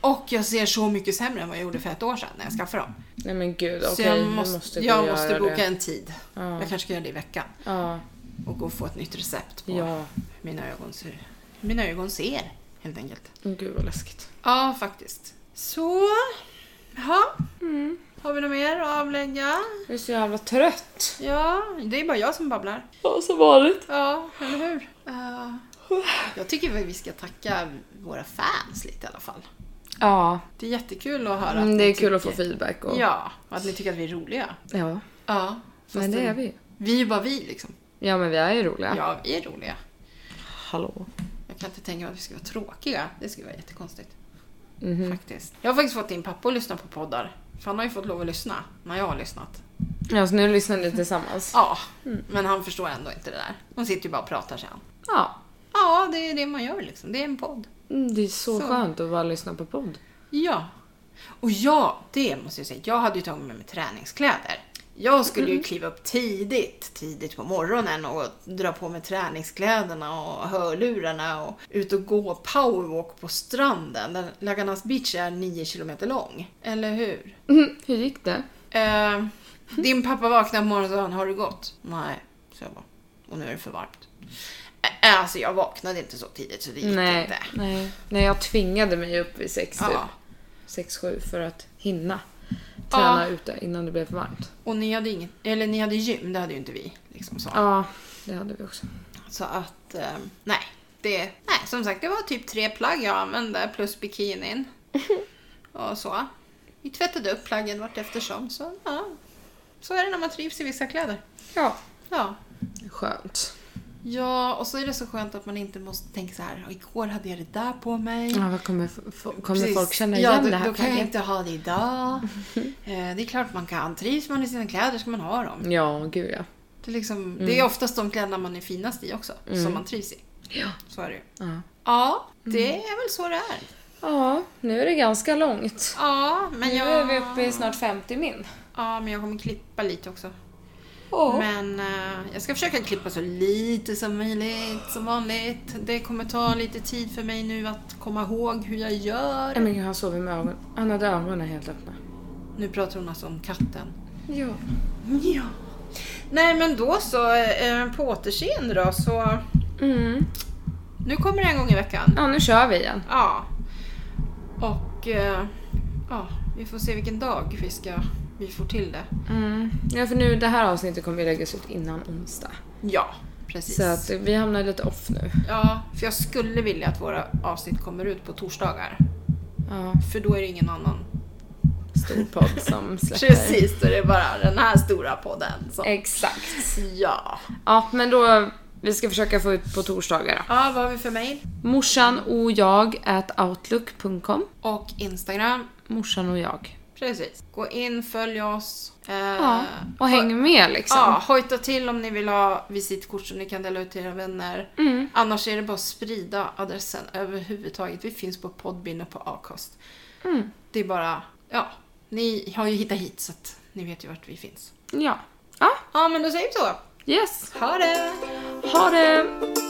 [SPEAKER 2] och jag ser så mycket sämre än vad jag gjorde för ett år sedan när jag skaffade dem.
[SPEAKER 1] Nej men gud, okej.
[SPEAKER 2] så jag
[SPEAKER 1] jag
[SPEAKER 2] måste,
[SPEAKER 1] måste, gå och
[SPEAKER 2] jag
[SPEAKER 1] göra
[SPEAKER 2] måste boka
[SPEAKER 1] det.
[SPEAKER 2] en tid.
[SPEAKER 1] Ja.
[SPEAKER 2] Jag kanske ska göra det i veckan.
[SPEAKER 1] Ja.
[SPEAKER 2] Och gå och få ett nytt recept på
[SPEAKER 1] Ja.
[SPEAKER 2] hur mina ögon ser, hur mina ögon ser helt enkelt.
[SPEAKER 1] Åh, Gud vad läskigt.
[SPEAKER 2] Ja, faktiskt. Så, jaha. Har vi något mer att avlägga?
[SPEAKER 1] Mm. Jag är så jävla trött.
[SPEAKER 2] Ja, det är bara jag som babblar.
[SPEAKER 1] Ja, som vanligt.
[SPEAKER 2] Ja, eller hur? Eh, jag tycker väl vi ska tacka våra fans lite i alla fall.
[SPEAKER 1] Ja.
[SPEAKER 2] Det är jättekul att höra.
[SPEAKER 1] Mm,
[SPEAKER 2] att
[SPEAKER 1] det
[SPEAKER 2] ni
[SPEAKER 1] är kul att få
[SPEAKER 2] tycker-
[SPEAKER 1] feedback och...
[SPEAKER 2] Ja, och att ni tycker att vi är roliga.
[SPEAKER 1] ja.
[SPEAKER 2] Ja.
[SPEAKER 1] Men det är vi ju.
[SPEAKER 2] Vi är ju bara vi liksom.
[SPEAKER 1] Ja men vi är ju roliga.
[SPEAKER 2] Ja, vi är roliga.
[SPEAKER 1] Hallå.
[SPEAKER 2] Jag kan inte tänka mig att vi ska vara tråkiga. Det skulle vara jättekonstigt.
[SPEAKER 1] Mhm.
[SPEAKER 2] Faktiskt. Jag har faktiskt fått din pappa att lyssna på poddar. För han har ju fått lov att lyssna när jag har lyssnat.
[SPEAKER 1] Ja så nu lyssnar ni tillsammans.
[SPEAKER 2] Ja, men han förstår ändå inte det där. De sitter ju bara och pratar sen.
[SPEAKER 1] Ja.
[SPEAKER 2] Ja, det är det man gör liksom. Det är en podd.
[SPEAKER 1] Mm, Det är så,
[SPEAKER 2] Så.
[SPEAKER 1] skönt att bara lyssna på podd.
[SPEAKER 2] Ja. Och ja, det måste jag säga. Jag hade ju tagit med mig träningskläder. Jag skulle ju kliva upp tidigt, tidigt på morgonen och dra på mig träningskläderna och hörlurarna och ut och gå powerwalk på stranden. Där Laganas beach är 9 kilometer lång. Eller hur?
[SPEAKER 1] Mm, Hur gick det?
[SPEAKER 2] Eh, din pappa vaknade på morgonen och sa, har du gått? Nej, så jag bara. Och nu är det för varmt. Eh, eh, alltså jag vaknade inte så tidigt så det gick
[SPEAKER 1] Nej,
[SPEAKER 2] inte.
[SPEAKER 1] nej. Nej, jag tvingade mig upp vid sex typ.
[SPEAKER 2] Ja.
[SPEAKER 1] sex sju för att hinna träna
[SPEAKER 2] Ja.
[SPEAKER 1] ute innan det blev för varmt.
[SPEAKER 2] Och ni hade, inget, eller ni hade gym, det hade ju inte vi. Liksom så.
[SPEAKER 1] Ja, det hade vi också.
[SPEAKER 2] så att, eh, nej. Det, nej. Som sagt, det var typ tre plagg jag använde
[SPEAKER 1] *laughs*
[SPEAKER 2] plus bikinin. och så. Vi tvättade upp plaggen vart eftersom. Så, ja. så är det när man trivs i vissa kläder.
[SPEAKER 1] Ja.
[SPEAKER 2] Ja.
[SPEAKER 1] Skönt.
[SPEAKER 2] Ja, och så är det så skönt att man inte måste tänka så här, igår hade jag det där på mig.
[SPEAKER 1] Ja, vad kommer, f- f- kommer
[SPEAKER 2] Precis.
[SPEAKER 1] folk känna
[SPEAKER 2] ja,
[SPEAKER 1] igen
[SPEAKER 2] då,
[SPEAKER 1] det här
[SPEAKER 2] Då kan jag
[SPEAKER 1] plagget?
[SPEAKER 2] inte ha
[SPEAKER 1] *laughs*
[SPEAKER 2] det idag. eh, det är klart man kan. Trivs man i sina kläder ska man ha dem.
[SPEAKER 1] Ja, gud ja.
[SPEAKER 2] Det är, liksom,
[SPEAKER 1] Mm.
[SPEAKER 2] det är oftast de kläderna man är finast i också, som man trivs i.
[SPEAKER 1] Ja.
[SPEAKER 2] Så är det ju.
[SPEAKER 1] ja.
[SPEAKER 2] Ja, det
[SPEAKER 1] Mm.
[SPEAKER 2] är väl så det är.
[SPEAKER 1] Ja, nu är det ganska långt.
[SPEAKER 2] Ja, men
[SPEAKER 1] Nu
[SPEAKER 2] jag,
[SPEAKER 1] är vi uppe i snart 50 min.
[SPEAKER 2] ja, men jag kommer klippa lite också.
[SPEAKER 1] Åh.
[SPEAKER 2] Men eh, jag ska försöka klippa så lite som möjligt, som vanligt. Det kommer ta lite tid för mig nu att komma ihåg hur jag gör.
[SPEAKER 1] Nej men gud, han sover med ögonen. Han hade ögonen helt öppna.
[SPEAKER 2] Nu pratar hon alltså om katten.
[SPEAKER 1] Ja.
[SPEAKER 2] Ja. Nej men då så, eh, på återseende då så.
[SPEAKER 1] Mm.
[SPEAKER 2] Nu kommer det en gång i veckan.
[SPEAKER 1] Ja, nu kör vi igen.
[SPEAKER 2] Ja. Och eh, ja, vi får se vilken dag vi ska vi får till det.
[SPEAKER 1] Mm. Ja, för nu det här avsnittet kommer ju läggas ut innan onsdag.
[SPEAKER 2] Ja, precis.
[SPEAKER 1] Så att vi hamnar lite off nu.
[SPEAKER 2] Ja, för jag skulle vilja att våra avsnitt kommer ut på torsdagar.
[SPEAKER 1] Ja,
[SPEAKER 2] För då är det ingen annan.
[SPEAKER 1] stor podd
[SPEAKER 2] *laughs*
[SPEAKER 1] som släpper.
[SPEAKER 2] Precis, då är det bara den här stora podden. Som...
[SPEAKER 1] Exakt.
[SPEAKER 2] Ja.
[SPEAKER 1] Ja, men då... Vi ska försöka få ut på torsdagar då.
[SPEAKER 2] Ja, vad har vi för mail?
[SPEAKER 1] Morsan och jag at outlook.com.
[SPEAKER 2] Och Instagram.
[SPEAKER 1] Morsan och jag.
[SPEAKER 2] Precis. Gå in, följ oss. Eh,
[SPEAKER 1] Ja, och häng med liksom.
[SPEAKER 2] Ja, hojta till om ni vill ha visitkort som ni kan dela ut till era vänner.
[SPEAKER 1] Mm.
[SPEAKER 2] Annars är det bara att sprida adressen överhuvudtaget. Vi finns på Podbin och på Acast.
[SPEAKER 1] Mm.
[SPEAKER 2] Det är bara, ja, ni har ju hittat hit så att ni vet ju vart vi finns.
[SPEAKER 1] Ja. Ja,
[SPEAKER 2] Ja, men då säger vi så.
[SPEAKER 1] yes.
[SPEAKER 2] Ha det!
[SPEAKER 1] Ha det!